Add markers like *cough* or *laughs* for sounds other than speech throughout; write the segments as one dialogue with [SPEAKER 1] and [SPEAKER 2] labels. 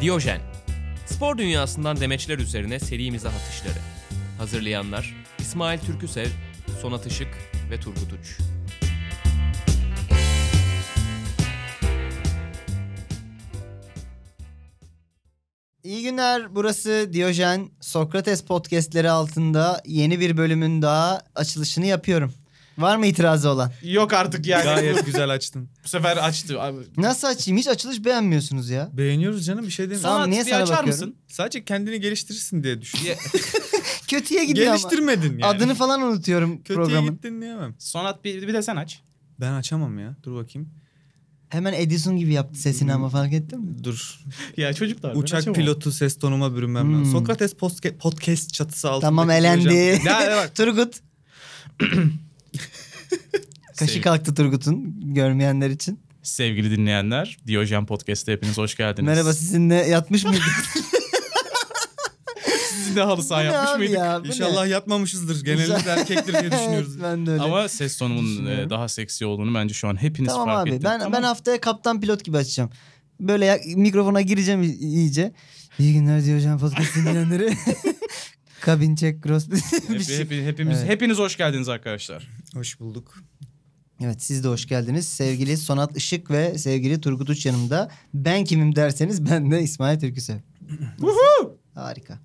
[SPEAKER 1] Diyojen. Spor dünyasından demeçler üzerine serimize atışları. Hazırlayanlar İsmail Türküsev, Sonat Işık ve Turgut Uç.
[SPEAKER 2] İyi günler. Burası Diyojen. Sokrates podcastleri altında yeni bir bölümün daha açılışını yapıyorum. Var mı itirazı olan?
[SPEAKER 3] Yok artık yani.
[SPEAKER 4] Gayet güzel açtın.
[SPEAKER 3] Bu sefer açtı. Abi.
[SPEAKER 2] Nasıl açayım? Hiç açılış beğenmiyorsunuz ya.
[SPEAKER 4] Beğeniyoruz canım bir şey demiyorum.
[SPEAKER 2] Tamam,
[SPEAKER 3] Sanat
[SPEAKER 2] niye
[SPEAKER 3] bir
[SPEAKER 2] sana
[SPEAKER 3] açar
[SPEAKER 2] bakıyorum?
[SPEAKER 3] mısın?
[SPEAKER 4] Sadece kendini geliştirirsin diye düşün.
[SPEAKER 2] Kötüye gidiyor
[SPEAKER 4] Geliştirmedin
[SPEAKER 2] ama.
[SPEAKER 4] yani.
[SPEAKER 2] Adını falan unutuyorum
[SPEAKER 4] Kötüye
[SPEAKER 2] programın.
[SPEAKER 4] gittin diyemem.
[SPEAKER 3] Sonat bir, bir de sen aç.
[SPEAKER 4] Ben açamam ya. Dur bakayım.
[SPEAKER 2] Hemen Edison gibi yaptı sesini ama fark ettin mi?
[SPEAKER 4] Dur.
[SPEAKER 3] Ya çocuklar. ben
[SPEAKER 4] Uçak
[SPEAKER 3] açamam.
[SPEAKER 4] pilotu ses tonuma bürünmem
[SPEAKER 2] Hmm.
[SPEAKER 4] lazım. Sokrates postke- podcast çatısı altında.
[SPEAKER 2] Tamam elendi. *laughs*
[SPEAKER 4] Ya ya bak.
[SPEAKER 2] Turgut.
[SPEAKER 4] *laughs*
[SPEAKER 2] Kaşı
[SPEAKER 3] Sev-
[SPEAKER 2] kalktı Turgut'un görmeyenler için.
[SPEAKER 3] Sevgili dinleyenler, Diyojen Podcast'te hepiniz hoş geldiniz.
[SPEAKER 2] Merhaba sizinle
[SPEAKER 4] *laughs*
[SPEAKER 2] yatmış mıydınız?
[SPEAKER 3] Siz de halı
[SPEAKER 2] Bu
[SPEAKER 3] saha
[SPEAKER 2] ne
[SPEAKER 3] yapmış
[SPEAKER 2] abi
[SPEAKER 3] mıydık?
[SPEAKER 2] ya? Bu ne?
[SPEAKER 4] İnşallah yatmamışızdır. Genelimiz erkektir
[SPEAKER 2] *laughs*
[SPEAKER 4] diye düşünüyoruz.
[SPEAKER 2] Evet, ben de öyle.
[SPEAKER 5] Ama ses tonumun
[SPEAKER 2] Düşünüyorum.
[SPEAKER 5] e, daha seksi olduğunu bence şu an hepiniz
[SPEAKER 2] Tamam
[SPEAKER 5] fark
[SPEAKER 2] abi.
[SPEAKER 5] ettiniz.
[SPEAKER 2] Ben
[SPEAKER 5] Tamam.
[SPEAKER 2] ben haftaya kaptan pilot gibi açacağım. Böyle ya- mikrofona gireceğim i- iyice. İyi günler diyor hocam podcast
[SPEAKER 5] *laughs*
[SPEAKER 2] dinleyenleri. *laughs* Kabin check cross. *laughs* bir
[SPEAKER 5] Hep-
[SPEAKER 2] şey.
[SPEAKER 5] hep- hepimiz
[SPEAKER 2] Evet.
[SPEAKER 5] hepiniz hoş geldiniz arkadaşlar.
[SPEAKER 4] Hoş bulduk.
[SPEAKER 2] Evet siz de hoş geldiniz. Sevgili Sonat Işık ve sevgili Turgut Uç yanımda. Ben kimim derseniz ben de İsmail Türküsev.
[SPEAKER 5] *laughs*
[SPEAKER 2] Harika.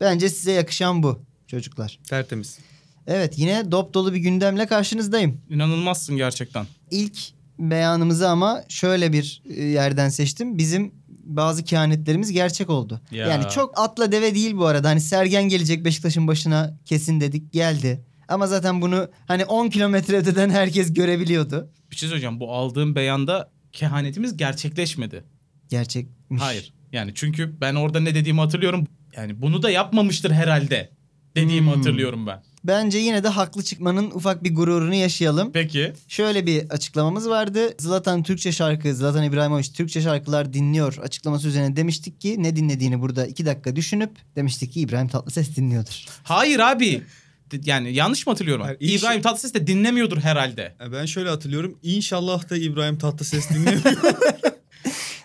[SPEAKER 2] Bence size yakışan bu çocuklar.
[SPEAKER 4] Tertemiz.
[SPEAKER 2] Evet yine dop dolu bir gündemle karşınızdayım.
[SPEAKER 5] İnanılmazsın gerçekten.
[SPEAKER 2] İlk beyanımızı ama şöyle bir e, yerden seçtim. Bizim bazı kehanetlerimiz gerçek oldu.
[SPEAKER 5] Ya.
[SPEAKER 2] Yani çok atla deve değil bu arada. Hani Sergen gelecek Beşiktaş'ın başına kesin dedik geldi. Ama zaten bunu hani 10 kilometre öteden herkes görebiliyordu.
[SPEAKER 5] Bir şey söyleyeceğim. Bu aldığım beyanda kehanetimiz gerçekleşmedi.
[SPEAKER 2] Gerçekmiş.
[SPEAKER 5] Hayır. Yani çünkü ben orada ne dediğimi hatırlıyorum. Yani bunu da yapmamıştır herhalde dediğimi
[SPEAKER 2] Hmm.
[SPEAKER 5] hatırlıyorum ben.
[SPEAKER 2] Bence yine de haklı çıkmanın ufak bir gururunu yaşayalım.
[SPEAKER 5] Peki.
[SPEAKER 2] Şöyle bir açıklamamız vardı. Zlatan Türkçe şarkı, Zlatan İbrahimovic Türkçe şarkılar dinliyor açıklaması üzerine demiştik ki ne dinlediğini burada iki dakika düşünüp demiştik ki İbrahim Tatlıses dinliyordur.
[SPEAKER 5] Hayır abi. D- Yani yanlış mı hatırlıyorum?
[SPEAKER 4] Hayır, iyi
[SPEAKER 5] İbrahim
[SPEAKER 4] şey-
[SPEAKER 5] Tatlıses de dinlemiyordur herhalde.
[SPEAKER 4] Ya E, Ben şöyle hatırlıyorum. İnşallah da İbrahim
[SPEAKER 2] *laughs*
[SPEAKER 4] Tatlıses dinlemiyor.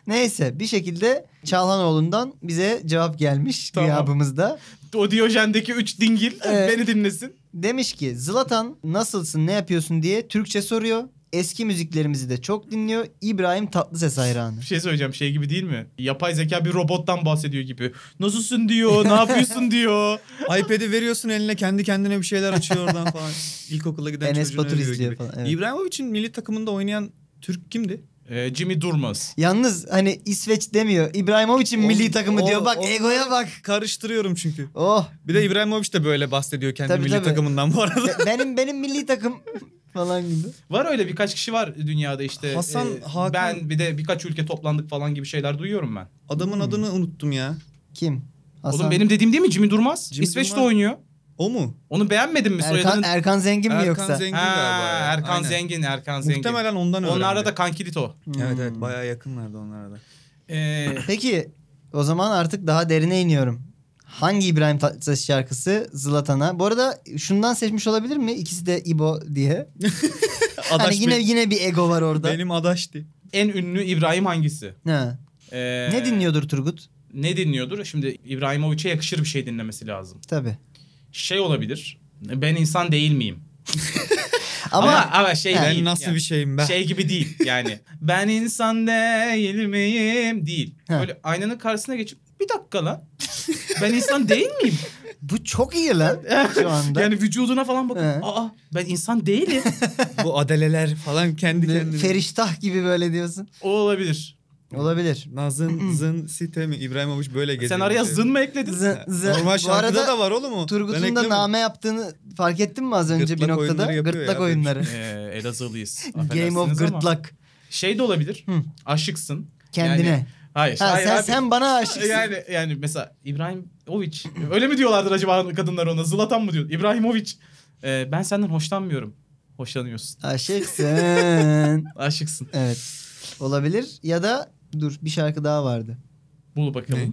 [SPEAKER 2] Neyse bir şekilde Çalhanoğlu'ndan bize cevap gelmiş
[SPEAKER 5] Tamam.
[SPEAKER 2] gıyabımızda.
[SPEAKER 5] O Diyojen'deki 3 dingil
[SPEAKER 2] Evet.
[SPEAKER 5] *laughs* beni dinlesin.
[SPEAKER 2] Demiş ki Zlatan nasılsın ne yapıyorsun diye Türkçe soruyor. Eski müziklerimizi de çok dinliyor. İbrahim Tatlıses hayranı.
[SPEAKER 5] Bir şey söyleyeceğim şey gibi değil mi? Yapay zeka bir robottan bahsediyor gibi. Nasılsın diyor, ne
[SPEAKER 4] *laughs*
[SPEAKER 5] yapıyorsun diyor.
[SPEAKER 4] iPad'i veriyorsun eline kendi kendine bir şeyler açıyor oradan falan. İlkokula giden
[SPEAKER 2] Enes
[SPEAKER 4] çocuğun
[SPEAKER 2] Batur
[SPEAKER 4] övüyor
[SPEAKER 2] izliyor
[SPEAKER 4] gibi.
[SPEAKER 2] falan, evet.
[SPEAKER 4] İbrahimovic'in milli takımında oynayan Türk kimdi?
[SPEAKER 5] Ee, Jimmy Durmaz.
[SPEAKER 2] Yalnız hani İsveç demiyor. İbrahimovic'in
[SPEAKER 4] O-
[SPEAKER 2] milli takımı
[SPEAKER 4] o-
[SPEAKER 2] diyor. Bak
[SPEAKER 4] o-
[SPEAKER 2] egoya bak.
[SPEAKER 4] Karıştırıyorum çünkü.
[SPEAKER 2] Oh
[SPEAKER 4] Bir de İbrahimovic de böyle bahsediyor kendi
[SPEAKER 2] Tabii,
[SPEAKER 4] milli
[SPEAKER 2] tabii.
[SPEAKER 4] takımından bu arada.
[SPEAKER 2] be- benim benim milli takım falan gibi.
[SPEAKER 5] Var öyle birkaç kişi var dünyada işte. e,
[SPEAKER 4] Hasan, Hakan-
[SPEAKER 5] Ben bir de birkaç ülke toplandık falan gibi şeyler duyuyorum ben.
[SPEAKER 2] Hmm.
[SPEAKER 4] Adamın adını unuttum ya.
[SPEAKER 2] Kim? Hasan.
[SPEAKER 5] Oğlum benim dediğim değil mi Jimmy Durmaz?
[SPEAKER 4] Jimmy
[SPEAKER 5] İsveç'te
[SPEAKER 4] Durmaz.
[SPEAKER 5] oynuyor.
[SPEAKER 4] O mu?
[SPEAKER 5] Onu beğenmedin mi
[SPEAKER 2] Erkan,
[SPEAKER 5] soyadının?
[SPEAKER 2] Erkan Zengin mi
[SPEAKER 4] Erkan
[SPEAKER 2] yoksa?
[SPEAKER 4] Zengin
[SPEAKER 5] Ha,
[SPEAKER 4] galiba ya.
[SPEAKER 5] Erkan
[SPEAKER 4] Aynen.
[SPEAKER 5] Zengin, Erkan Zengin.
[SPEAKER 4] Muhtemelen ondan öğrendi.
[SPEAKER 5] Onlarda da Kankilito.
[SPEAKER 4] Evet
[SPEAKER 2] Hmm.
[SPEAKER 4] evet bayağı yakınlardı onlara da.
[SPEAKER 5] Ee,
[SPEAKER 2] Peki o zaman artık daha derine iniyorum. Hangi İbrahim Tatlıses şarkısı Zlatan'a? Bu arada şundan seçmiş olabilir mi? İkisi de İbo diye. *laughs*
[SPEAKER 4] Adaş
[SPEAKER 2] hani yine
[SPEAKER 4] benim,
[SPEAKER 2] yine bir ego var orada.
[SPEAKER 4] benim adaştı.
[SPEAKER 5] en ünlü İbrahim hangisi?
[SPEAKER 2] Ha.
[SPEAKER 5] Ee,
[SPEAKER 2] Ne dinliyordur Turgut?
[SPEAKER 5] Ne dinliyordur? Şimdi İbrahimovic'e yakışır bir şey dinlemesi lazım.
[SPEAKER 2] Tabii.
[SPEAKER 5] Şey olabilir. Ben insan değil miyim?
[SPEAKER 2] Ama,
[SPEAKER 5] ama, ama şey
[SPEAKER 2] Yani
[SPEAKER 5] değil.
[SPEAKER 4] Ben nasıl
[SPEAKER 5] yani.
[SPEAKER 4] bir şeyim ben?
[SPEAKER 5] Şey gibi değil
[SPEAKER 2] *laughs*
[SPEAKER 5] yani. ben insan değil miyim? Değil.
[SPEAKER 2] Ha.
[SPEAKER 5] Böyle aynanın karşısına geçip bir dakika lan. ben insan değil
[SPEAKER 2] *laughs*
[SPEAKER 5] miyim?
[SPEAKER 2] bu çok iyi lan şu anda.
[SPEAKER 5] Yani vücuduna falan bakın.
[SPEAKER 2] He.
[SPEAKER 5] Aa ben insan değilim.
[SPEAKER 4] bu adeleler falan kendi kendine.
[SPEAKER 2] Feriştah gibi böyle diyorsun.
[SPEAKER 5] o olabilir.
[SPEAKER 2] Olabilir. Hmm.
[SPEAKER 4] Nazın zın sitemi İbrahimovic böyle geziyor.
[SPEAKER 5] Sen araya zın mı ekledin?
[SPEAKER 2] Z, z-
[SPEAKER 4] Normal
[SPEAKER 2] bu
[SPEAKER 4] şarkıda
[SPEAKER 2] arada
[SPEAKER 4] da var oğlum o. Ben
[SPEAKER 2] Turgut'un da
[SPEAKER 4] eklemedim.
[SPEAKER 2] name yaptığını fark ettin mi az önce bir
[SPEAKER 4] Gırtlak
[SPEAKER 2] noktada?
[SPEAKER 4] oyunları yapıyor
[SPEAKER 2] Gırtlak
[SPEAKER 4] ya, böyle bir şey.
[SPEAKER 2] oyunları.
[SPEAKER 5] Ee, Elazığlıyız.
[SPEAKER 2] Game of
[SPEAKER 5] affedersiniz ama.
[SPEAKER 2] gırtlak.
[SPEAKER 5] Şey de olabilir.
[SPEAKER 2] Hı.
[SPEAKER 5] Aşıksın.
[SPEAKER 2] Kendine.
[SPEAKER 5] Yani- Hayır.
[SPEAKER 2] ha,
[SPEAKER 5] hayır
[SPEAKER 2] sen,
[SPEAKER 5] abi.
[SPEAKER 2] sen bana aşıksın.
[SPEAKER 5] Yani yani mesela İbrahimovic öyle mi diyorlardır acaba kadınlar ona? Zlatan mı diyor? İbrahimovic e, ben senden hoşlanmıyorum. Hoşlanıyorsun.
[SPEAKER 2] Aşıksın.
[SPEAKER 5] Aşıksın.
[SPEAKER 2] evet. Olabilir ya da dur bir şarkı daha vardı.
[SPEAKER 5] Bul bakalım.
[SPEAKER 4] Ne?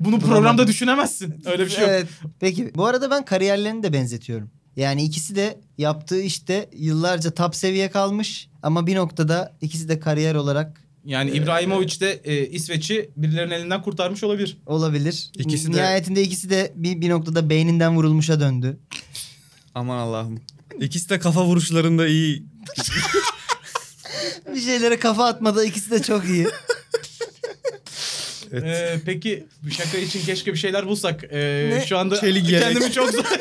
[SPEAKER 5] Bunu programda düşünemezsin. Öyle bir şey yok.
[SPEAKER 2] Evet. Peki bu arada ben kariyerlerini de benzetiyorum. Yani ikisi de yaptığı işte yıllarca top seviye kalmış ama bir noktada ikisi de kariyer olarak
[SPEAKER 4] Ee,
[SPEAKER 5] Yani İbrahimovic de e, İsveç'i birilerinin elinden kurtarmış olabilir.
[SPEAKER 2] Olabilir.
[SPEAKER 4] İkisi de-
[SPEAKER 2] Nihayetinde ikisi de bir, bir noktada beyninden vurulmuşa döndü.
[SPEAKER 4] Aman Allah'ım. İkisi de kafa vuruşlarında iyi.
[SPEAKER 2] Bir şeylere kafa atmada ikisi de çok
[SPEAKER 5] *laughs*
[SPEAKER 2] iyi.
[SPEAKER 4] Evet.
[SPEAKER 5] Ee, peki bu şaka için keşke bir şeyler bulsak. Ee,
[SPEAKER 2] Ne?
[SPEAKER 5] Şu anda
[SPEAKER 4] Çelik yelek.
[SPEAKER 5] kendimi çok zor.
[SPEAKER 4] *laughs*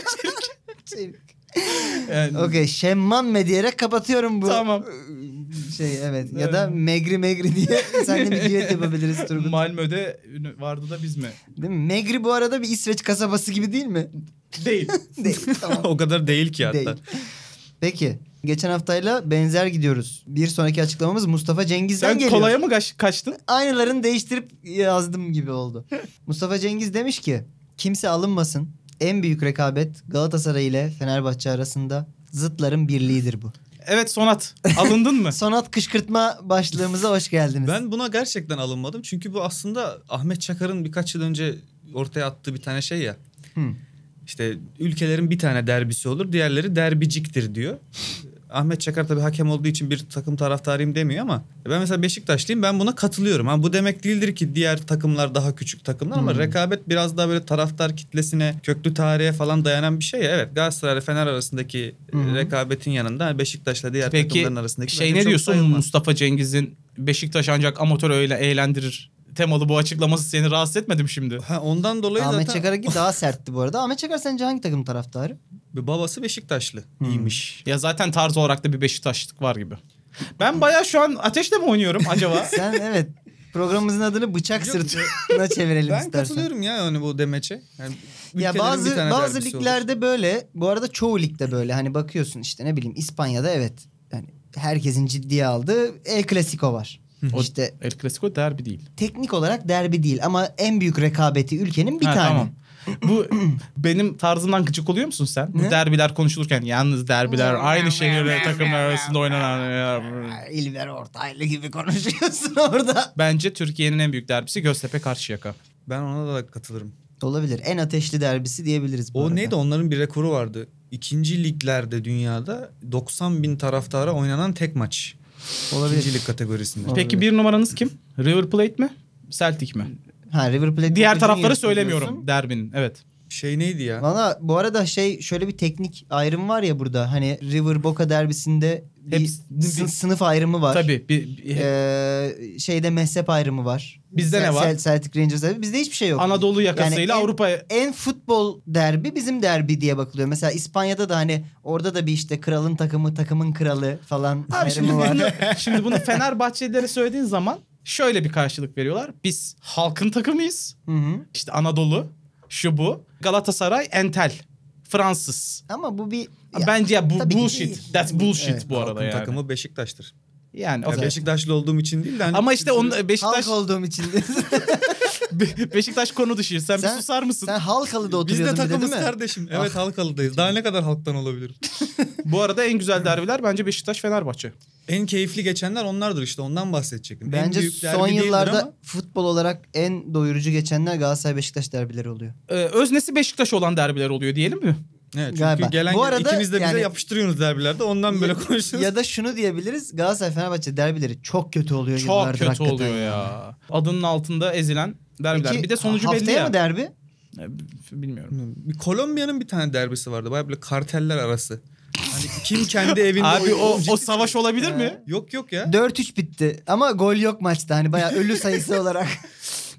[SPEAKER 5] Yani,
[SPEAKER 2] Okey şemman me diyerek kapatıyorum bu.
[SPEAKER 5] Tamam.
[SPEAKER 4] e,
[SPEAKER 2] Şey evet ya
[SPEAKER 5] Evet.
[SPEAKER 2] da megri megri diye *laughs* sen de bir düet yapabiliriz Turgut.
[SPEAKER 5] Malmö'de ünü- vardı da biz mi?
[SPEAKER 2] Değil mi? Megri bu arada bir İsveç kasabası gibi değil
[SPEAKER 4] *laughs*
[SPEAKER 2] mi?
[SPEAKER 5] Değil.
[SPEAKER 2] Değil. Tamam.
[SPEAKER 4] o kadar değil ki hatta.
[SPEAKER 2] Değil. Peki. Geçen haftayla benzer gidiyoruz. Bir sonraki açıklamamız Mustafa Cengiz'den
[SPEAKER 5] Sen
[SPEAKER 2] geliyor.
[SPEAKER 5] kolaya mı kaç- kaçtın?
[SPEAKER 2] Aynılarını değiştirip yazdım gibi
[SPEAKER 4] *laughs*
[SPEAKER 2] oldu. Mustafa Cengiz demiş ki kimse alınmasın. En büyük rekabet Galatasaray ile Fenerbahçe arasında zıtların birliğidir
[SPEAKER 4] *laughs*
[SPEAKER 2] bu.
[SPEAKER 5] Evet Sonat. Alındın mı?
[SPEAKER 2] Sonat kışkırtma başlığımıza hoş geldiniz.
[SPEAKER 4] Ben buna gerçekten alınmadım. Çünkü bu aslında Ahmet Çakar'ın birkaç yıl önce ortaya attığı bir tane şey ya.
[SPEAKER 2] Hı.
[SPEAKER 4] İşte ülkelerin bir tane derbisi olur, diğerleri derbiciktir diyor. Ahmet Çakar tabii hakem olduğu için bir takım taraftarıyım demiyor ama ben mesela Beşiktaşlıyım ben buna katılıyorum. Ha bu demek değildir ki diğer takımlar daha küçük takımlar ama rekabet biraz daha böyle taraftar kitlesine, köklü tarihe falan dayanan bir şey ya. Evet Galatasaray ile Fener arasındaki e,
[SPEAKER 2] Hı.
[SPEAKER 4] rekabetin yanında Beşiktaş'la diğer
[SPEAKER 5] Peki
[SPEAKER 4] takımların arasındaki
[SPEAKER 5] şey
[SPEAKER 4] bence
[SPEAKER 5] ne
[SPEAKER 4] çok
[SPEAKER 5] diyorsun
[SPEAKER 4] sayılmaz.
[SPEAKER 5] Mustafa Cengiz'in Beşiktaş ancak amatör öyle eğlendirir temalı bu açıklaması seni rahatsız etmedi mi şimdi?
[SPEAKER 4] Ha ondan dolayı
[SPEAKER 2] Ahmet
[SPEAKER 4] zaten
[SPEAKER 2] Çakar'ınki
[SPEAKER 4] *laughs*
[SPEAKER 2] daha sertti bu arada. Ahmet Çakar sence hangi takım taraftarı?
[SPEAKER 4] babası Beşiktaşlı
[SPEAKER 2] Hı.
[SPEAKER 4] iyiymiş.
[SPEAKER 5] Ya zaten tarz olarak da bir Beşiktaşlık var gibi. Ben baya şu an ateşle
[SPEAKER 2] *laughs*
[SPEAKER 5] mi oynuyorum acaba?
[SPEAKER 2] Sen evet programımızın adını bıçak
[SPEAKER 4] Yok, e,
[SPEAKER 2] sırtına çevirelim
[SPEAKER 4] Ben
[SPEAKER 2] istersen.
[SPEAKER 4] katılıyorum ya yani bu demeçe. Yani
[SPEAKER 2] Ya
[SPEAKER 4] ülkelerin bir
[SPEAKER 2] bazı
[SPEAKER 4] tane
[SPEAKER 2] bazı
[SPEAKER 4] derbisi olur.
[SPEAKER 2] liglerde böyle bu arada çoğu ligde böyle hani bakıyorsun işte ne bileyim İspanya'da evet yani herkesin ciddiye aldığı El Clasico var.
[SPEAKER 5] O-
[SPEAKER 2] işte
[SPEAKER 5] *laughs* El Clasico derbi değil.
[SPEAKER 2] teknik olarak derbi değil ama en büyük rekabeti ülkenin bir
[SPEAKER 5] Ha,
[SPEAKER 2] tane.
[SPEAKER 5] Tamam. Bu *clears throat* benim tarzımdan gıcık oluyor musun sen? Bu
[SPEAKER 2] Ne?
[SPEAKER 5] derbiler konuşulurken yalnız derbiler aynı şehir ve takımlar arasında oynanan.
[SPEAKER 2] Ay, İlber Ortaylı gibi konuşuyorsun *laughs* orada.
[SPEAKER 5] Bence Türkiye'nin en büyük derbisi Göztepe Karşıyaka.
[SPEAKER 4] Ben ona da katılırım.
[SPEAKER 2] Olabilir. En ateşli derbisi diyebiliriz bu
[SPEAKER 4] O
[SPEAKER 2] arada.
[SPEAKER 4] neydi onların bir rekoru vardı. İkinci liglerde dünyada 90 bin taraftara oynanan tek maç.
[SPEAKER 2] Olabilir.
[SPEAKER 4] İkinci lig kategorisinde.
[SPEAKER 2] Olabilir.
[SPEAKER 5] Peki bir numaranız kim? River Plate mi? Celtic mi?
[SPEAKER 2] Ha River Plate
[SPEAKER 5] Diğer
[SPEAKER 2] Boca
[SPEAKER 5] tarafları
[SPEAKER 2] Juniors
[SPEAKER 5] söylemiyorum
[SPEAKER 2] diyorsun.
[SPEAKER 5] derbinin. Evet.
[SPEAKER 4] Şey neydi ya?
[SPEAKER 2] Valla bu arada şey şöyle bir teknik ayrım var ya burada. Hani River Boca derbisinde bir
[SPEAKER 5] Hepsinin
[SPEAKER 2] sın-
[SPEAKER 5] bir-
[SPEAKER 2] sınıf ayrımı var.
[SPEAKER 5] Tabii. Bir, bir-
[SPEAKER 2] Ee, şeyde mezhep ayrımı var.
[SPEAKER 5] Bizde ne
[SPEAKER 2] Cel-
[SPEAKER 5] var?
[SPEAKER 2] Cel- Celtic Rangers derbi. Bizde hiçbir şey yok.
[SPEAKER 5] Anadolu
[SPEAKER 2] Yani
[SPEAKER 5] yakasıyla
[SPEAKER 2] en-
[SPEAKER 5] Avrupa
[SPEAKER 2] *laughs* en futbol derbi bizim derbi diye bakılıyor. Mesela İspanya'da da hani orada da bir işte kralın takımı takımın kralı falan
[SPEAKER 5] Abi şimdi
[SPEAKER 2] ayrımı var.
[SPEAKER 5] bunu, *laughs* şimdi bunu Fenerbahçelilere söylediğin zaman şöyle bir karşılık veriyorlar. Biz halkın takımıyız.
[SPEAKER 2] Hı hı.
[SPEAKER 5] İşte Anadolu, şu bu. Galatasaray, Entel. Fransız.
[SPEAKER 2] Ama bu bir
[SPEAKER 5] Bence ya bu
[SPEAKER 2] tabii ki
[SPEAKER 5] bullshit.
[SPEAKER 2] değil.
[SPEAKER 5] That's bullshit
[SPEAKER 2] Evet,
[SPEAKER 5] bu
[SPEAKER 4] Halkın
[SPEAKER 5] arada yani.
[SPEAKER 4] takımı Beşiktaş'tır.
[SPEAKER 5] Yani
[SPEAKER 4] Ya
[SPEAKER 5] okey.
[SPEAKER 4] Beşiktaşlı olduğum için değil de hani
[SPEAKER 5] Ama işte
[SPEAKER 4] kültürü-
[SPEAKER 5] onu Beşiktaş
[SPEAKER 2] halk olduğum için. *laughs* de-
[SPEAKER 5] Be- *laughs* Beşiktaş konu dışı. Sen,
[SPEAKER 2] Sen-
[SPEAKER 5] bir susar mısın?
[SPEAKER 2] Sen Halkalı'da
[SPEAKER 4] biz de
[SPEAKER 2] oturuyordun bir de
[SPEAKER 4] takımız
[SPEAKER 2] değil mi? Ah.
[SPEAKER 4] kardeşim. Evet Halkalı'dayız. Daha ne kadar halktan olabilirim?
[SPEAKER 5] Bu arada en güzel derbiler bence Beşiktaş Fenerbahçe.
[SPEAKER 4] en keyifli geçenler onlardır işte. Ondan bahsedecektim. en
[SPEAKER 2] Bence
[SPEAKER 4] büyük derbi
[SPEAKER 2] son
[SPEAKER 4] değildir
[SPEAKER 2] yıllarda
[SPEAKER 4] ama
[SPEAKER 2] futbol olarak en doyurucu geçenler Galatasaray Beşiktaş derbileri oluyor.
[SPEAKER 5] Ee, öznesi Beşiktaş olan derbiler oluyor diyelim mi?
[SPEAKER 4] Evet, çünkü
[SPEAKER 2] Galiba.
[SPEAKER 4] gelen
[SPEAKER 2] Bu arada
[SPEAKER 4] ikiniz de bize
[SPEAKER 2] yani-
[SPEAKER 4] yapıştırıyorsunuz derbilerde. Ondan böyle konuşuyorsunuz.
[SPEAKER 2] ya da şunu diyebiliriz. Galatasaray Fenerbahçe derbileri çok kötü oluyor
[SPEAKER 5] Çok
[SPEAKER 2] yıllardır
[SPEAKER 5] kötü
[SPEAKER 2] hakikaten.
[SPEAKER 5] oluyor ya. Adının altında ezilen derbiler.
[SPEAKER 2] Peki,
[SPEAKER 5] bir de sonucu
[SPEAKER 2] haftaya
[SPEAKER 5] belli ya.
[SPEAKER 2] mı derbi?
[SPEAKER 5] Ee, Bilmiyorum.
[SPEAKER 4] Bir Kolombiya'nın bir tane derbisi vardı. Baya böyle karteller arası. Hani kim kendi evinde
[SPEAKER 5] Abi
[SPEAKER 4] oynuyor?
[SPEAKER 5] o, o savaş olabilir mi?
[SPEAKER 4] Yok yok ya.
[SPEAKER 2] 4-3 bitti ama gol yok maçta hani bayağı ölü
[SPEAKER 5] *laughs*
[SPEAKER 2] sayısı olarak.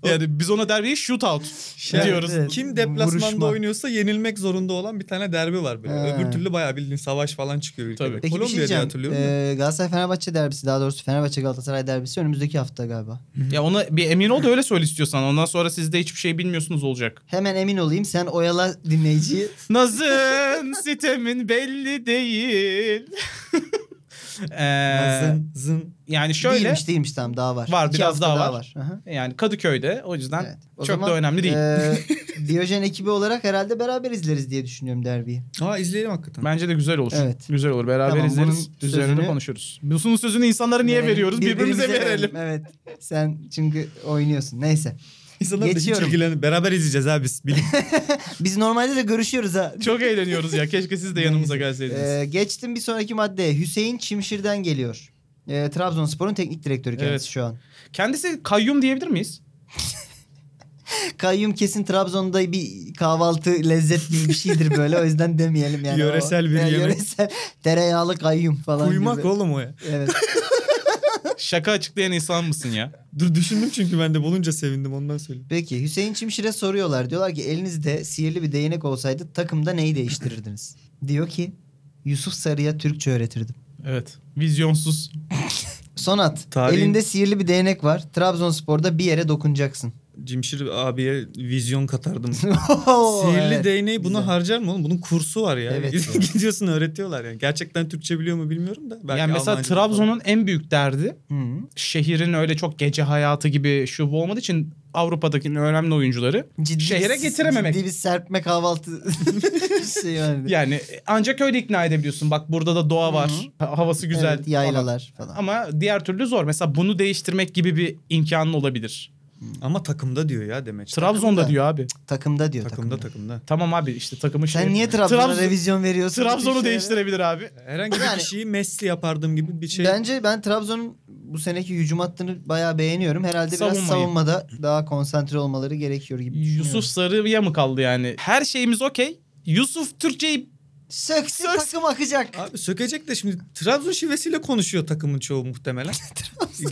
[SPEAKER 5] Yani biz ona derbiyi shootout
[SPEAKER 4] Şey,
[SPEAKER 5] diyoruz.
[SPEAKER 2] evet.
[SPEAKER 4] Kim deplasmanda
[SPEAKER 2] Vuruşma.
[SPEAKER 4] oynuyorsa yenilmek zorunda olan bir tane derbi var böyle.
[SPEAKER 2] He.
[SPEAKER 4] Öbür türlü bayağı bildiğin savaş falan çıkıyor ülkede.
[SPEAKER 5] Tabii.
[SPEAKER 2] Peki bir şey
[SPEAKER 4] Kolombiya diye
[SPEAKER 2] diyeceğim.
[SPEAKER 4] hatırlıyorum. da.
[SPEAKER 2] Ee, Galatasaray Fenerbahçe derbisi daha doğrusu Fenerbahçe Galatasaray derbisi önümüzdeki hafta galiba.
[SPEAKER 5] Ya ona bir emin ol da öyle söyle istiyorsan. Ondan sonra siz de hiçbir şey bilmiyorsunuz olacak.
[SPEAKER 2] Hemen emin olayım sen oyala dinleyiciyi. *laughs*
[SPEAKER 5] Nazın sitemin belli değil. *laughs* Ee,
[SPEAKER 4] Zın zın.
[SPEAKER 5] yani *laughs* şöyle
[SPEAKER 2] Değilmiş değilmiş tamam daha var.
[SPEAKER 5] Var, biraz
[SPEAKER 2] hafta
[SPEAKER 5] daha var.
[SPEAKER 2] Aha.
[SPEAKER 5] yani Kadıköy'de o yüzden
[SPEAKER 2] Evet. O
[SPEAKER 5] çok
[SPEAKER 2] zaman,
[SPEAKER 5] da önemli değil.
[SPEAKER 2] Ee,
[SPEAKER 5] *laughs*
[SPEAKER 2] Diyojen ekibi olarak herhalde beraber izleriz diye düşünüyorum derbiyi.
[SPEAKER 4] Aa izleyelim hakikaten.
[SPEAKER 5] Bence de güzel olur.
[SPEAKER 2] Evet.
[SPEAKER 5] Güzel olur. Beraber
[SPEAKER 2] Tamam,
[SPEAKER 5] izleriz.
[SPEAKER 2] bunun
[SPEAKER 5] Üzerine
[SPEAKER 2] sözünü-
[SPEAKER 5] konuşuruz. Bunun sözünü insanlara niye
[SPEAKER 2] Verelim.
[SPEAKER 5] veriyoruz? Birbirimize, verelim.
[SPEAKER 2] Evet. Sen çünkü oynuyorsun. Neyse.
[SPEAKER 4] İnsanlar da hiç
[SPEAKER 2] Geçiyorum.
[SPEAKER 4] ilgilenip beraber izleyeceğiz abi biz. Bilin.
[SPEAKER 2] Biz normalde de görüşüyoruz ha.
[SPEAKER 5] Çok eğleniyoruz ya. Keşke siz de yanımıza gelseydiniz.
[SPEAKER 2] Ee, geçtim bir sonraki maddeye. Hüseyin Çimşir'den geliyor. Ee, Trabzonspor'un teknik direktörü kendisi
[SPEAKER 5] Evet.
[SPEAKER 2] şu an.
[SPEAKER 5] Kendisi kayyum diyebilir miyiz?
[SPEAKER 2] Kayyum kesin Trabzon'da bir kahvaltı lezzet gibi bir şeydir böyle. O yüzden demeyelim yani.
[SPEAKER 4] Yöresel
[SPEAKER 2] O- *laughs*
[SPEAKER 4] bir
[SPEAKER 2] Yani
[SPEAKER 4] yemek.
[SPEAKER 2] Yöresel tereyağlı kayyum falan
[SPEAKER 4] Kuymak
[SPEAKER 2] gibi.
[SPEAKER 4] oğlum o ya.
[SPEAKER 2] Evet.
[SPEAKER 5] Şaka açıklayan insan mısın ya?
[SPEAKER 4] Dur düşündüm çünkü ben de bulunca sevindim ondan söyleyeyim.
[SPEAKER 2] Peki Hüseyin Çimşir'e soruyorlar. Diyorlar ki elinizde sihirli bir değnek olsaydı takımda neyi değiştirirdiniz? *laughs* Diyor ki Yusuf Sarı'ya Türkçe öğretirdim.
[SPEAKER 5] Evet. Vizyonsuz.
[SPEAKER 2] Sonat
[SPEAKER 4] Tarihin-
[SPEAKER 2] elinde sihirli bir değnek var. Trabzonspor'da bir yere dokunacaksın.
[SPEAKER 4] Cimşir abiye vizyon katardım. *laughs* Sihirli
[SPEAKER 2] Evet.
[SPEAKER 4] değneği buna
[SPEAKER 2] Güzel.
[SPEAKER 4] harcar mı oğlum? Bunun kursu var ya.
[SPEAKER 2] Evet.
[SPEAKER 4] *laughs* Gidiyorsun öğretiyorlar yani. Gerçekten Türkçe biliyor mu bilmiyorum da. Belki
[SPEAKER 5] yani mesela
[SPEAKER 4] Almanca falan.
[SPEAKER 5] Trabzon'un en büyük derdi
[SPEAKER 2] Hı.
[SPEAKER 5] şehrin öyle çok gece hayatı gibi şu bu olmadığı için Avrupa'daki önemli oyuncuları
[SPEAKER 2] Ciddi
[SPEAKER 5] Şehre
[SPEAKER 2] bir-
[SPEAKER 5] getirememek.
[SPEAKER 2] Ciddi bir serpme kahvaltı şey yani.
[SPEAKER 5] yani ancak öyle ikna edebiliyorsun. Bak burada da doğa var. ha- Havası güzel.
[SPEAKER 2] Evet, yaylalar
[SPEAKER 5] falan.
[SPEAKER 2] falan.
[SPEAKER 5] Ama diğer türlü zor. Mesela bunu değiştirmek gibi bir imkanın olabilir.
[SPEAKER 4] Ama takımda diyor ya demek.
[SPEAKER 5] Trabzon'da
[SPEAKER 2] Takımda.
[SPEAKER 5] diyor abi.
[SPEAKER 2] Takımda diyor takımda.
[SPEAKER 4] Takımda takımda.
[SPEAKER 5] Tamam abi işte takımı
[SPEAKER 2] Sen
[SPEAKER 5] şey-
[SPEAKER 2] niye Trabzon'a
[SPEAKER 5] Trabzon-
[SPEAKER 2] revizyon veriyorsun? şey?
[SPEAKER 5] Trabzon'u
[SPEAKER 2] Bütün şeylere?
[SPEAKER 5] değiştirebilir abi.
[SPEAKER 4] Herhangi
[SPEAKER 2] Yani-
[SPEAKER 4] bir kişiyi Messi yapardım gibi bir şey.
[SPEAKER 2] Bence ben Trabzon'un bu seneki hücum hattını bayağı beğeniyorum. Herhalde biraz
[SPEAKER 5] Savunmayı.
[SPEAKER 2] savunmada daha konsantre olmaları gerekiyor gibi
[SPEAKER 5] Yusuf Sarı'ya mı kaldı yani? Her şeyimiz okey. Yusuf Türkçe'yi
[SPEAKER 2] Söksün
[SPEAKER 5] Söks-
[SPEAKER 2] takım akacak.
[SPEAKER 4] Abi sökecek de şimdi Trabzon şivesiyle konuşuyor takımın
[SPEAKER 2] *laughs*
[SPEAKER 4] çoğu muhtemelen.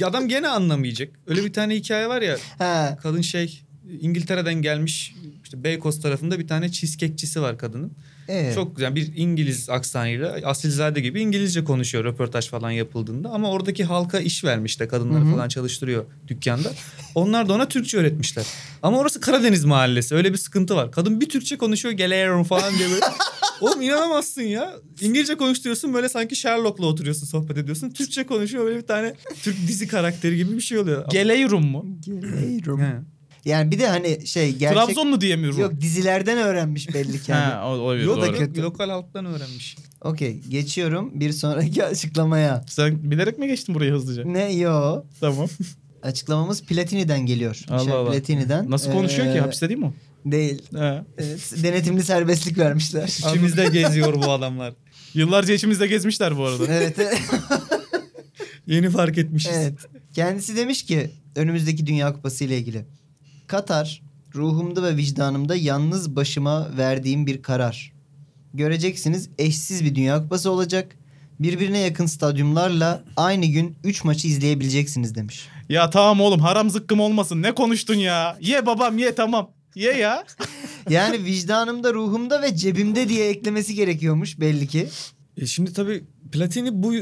[SPEAKER 4] Adam gene anlamayacak. Öyle bir tane hikaye var ya.
[SPEAKER 2] He.
[SPEAKER 4] Kadın şey İngiltere'den gelmiş işte Beykoz tarafında bir tane cheesecake'cisi var kadının.
[SPEAKER 2] Evet.
[SPEAKER 4] Çok güzel bir İngiliz aksanıyla asilzade gibi İngilizce konuşuyor röportaj falan yapıldığında. Ama oradaki halka iş vermiş de kadınları
[SPEAKER 2] Hı hı.
[SPEAKER 4] falan çalıştırıyor dükkanda. Onlar da ona Türkçe öğretmişler. Ama orası Karadeniz mahallesi öyle bir sıkıntı var. Kadın bir Türkçe konuşuyor geliyorum falan
[SPEAKER 2] *laughs*
[SPEAKER 4] diye böyle. Oğlum inanamazsın ya. İngilizce konuşuyorsun böyle sanki Sherlock'la oturuyorsun sohbet ediyorsun. Türkçe konuşuyor böyle bir tane Türk dizi karakteri gibi bir şey oluyor.
[SPEAKER 5] Geleyrum mu?
[SPEAKER 2] Geliyorum.
[SPEAKER 4] He.
[SPEAKER 2] Yani bir de hani şey gerçek...
[SPEAKER 5] Trabzonlu diyemiyorum.
[SPEAKER 2] Yok dizilerden öğrenmiş belli ki. yani.
[SPEAKER 5] Ha, o- olabilir
[SPEAKER 4] Yo da
[SPEAKER 5] doğru.
[SPEAKER 2] Yoldaki-
[SPEAKER 4] kö- lokal halktan öğrenmiş.
[SPEAKER 2] Okey geçiyorum bir sonraki *laughs* açıklamaya.
[SPEAKER 5] Sen bilerek mi geçtin
[SPEAKER 2] *laughs*
[SPEAKER 5] burayı hızlıca?
[SPEAKER 2] Ne yo?
[SPEAKER 5] tamam.
[SPEAKER 2] Açıklamamız Platini'den geliyor.
[SPEAKER 5] Allah
[SPEAKER 2] Michel
[SPEAKER 5] Allah.
[SPEAKER 2] Platini'den.
[SPEAKER 5] Nasıl konuşuyor
[SPEAKER 2] Ee,
[SPEAKER 5] ki? Hapiste değil mi o?
[SPEAKER 2] Değil.
[SPEAKER 5] He.
[SPEAKER 2] Evet, denetimli serbestlik vermişler.
[SPEAKER 4] İçimizde geziyor bu adamlar.
[SPEAKER 5] Yıllarca içimizde gezmişler bu arada.
[SPEAKER 2] evet, evet,
[SPEAKER 5] *laughs*
[SPEAKER 4] Yeni fark etmişiz.
[SPEAKER 2] evet. Kendisi demiş ki önümüzdeki Dünya Kupası ile ilgili. Katar ruhumda ve vicdanımda yalnız başıma verdiğim bir karar. Göreceksiniz eşsiz bir Dünya Kupası olacak. Birbirine yakın stadyumlarla aynı gün 3 maçı izleyebileceksiniz demiş.
[SPEAKER 5] ya tamam oğlum haram zıkkım olmasın. Ne konuştun ya? Ye babam ye tamam. Ye ya. *laughs*
[SPEAKER 2] Yani vicdanımda, ruhumda ve cebimde diye eklemesi gerekiyormuş belli ki.
[SPEAKER 4] E şimdi tabii Platini bu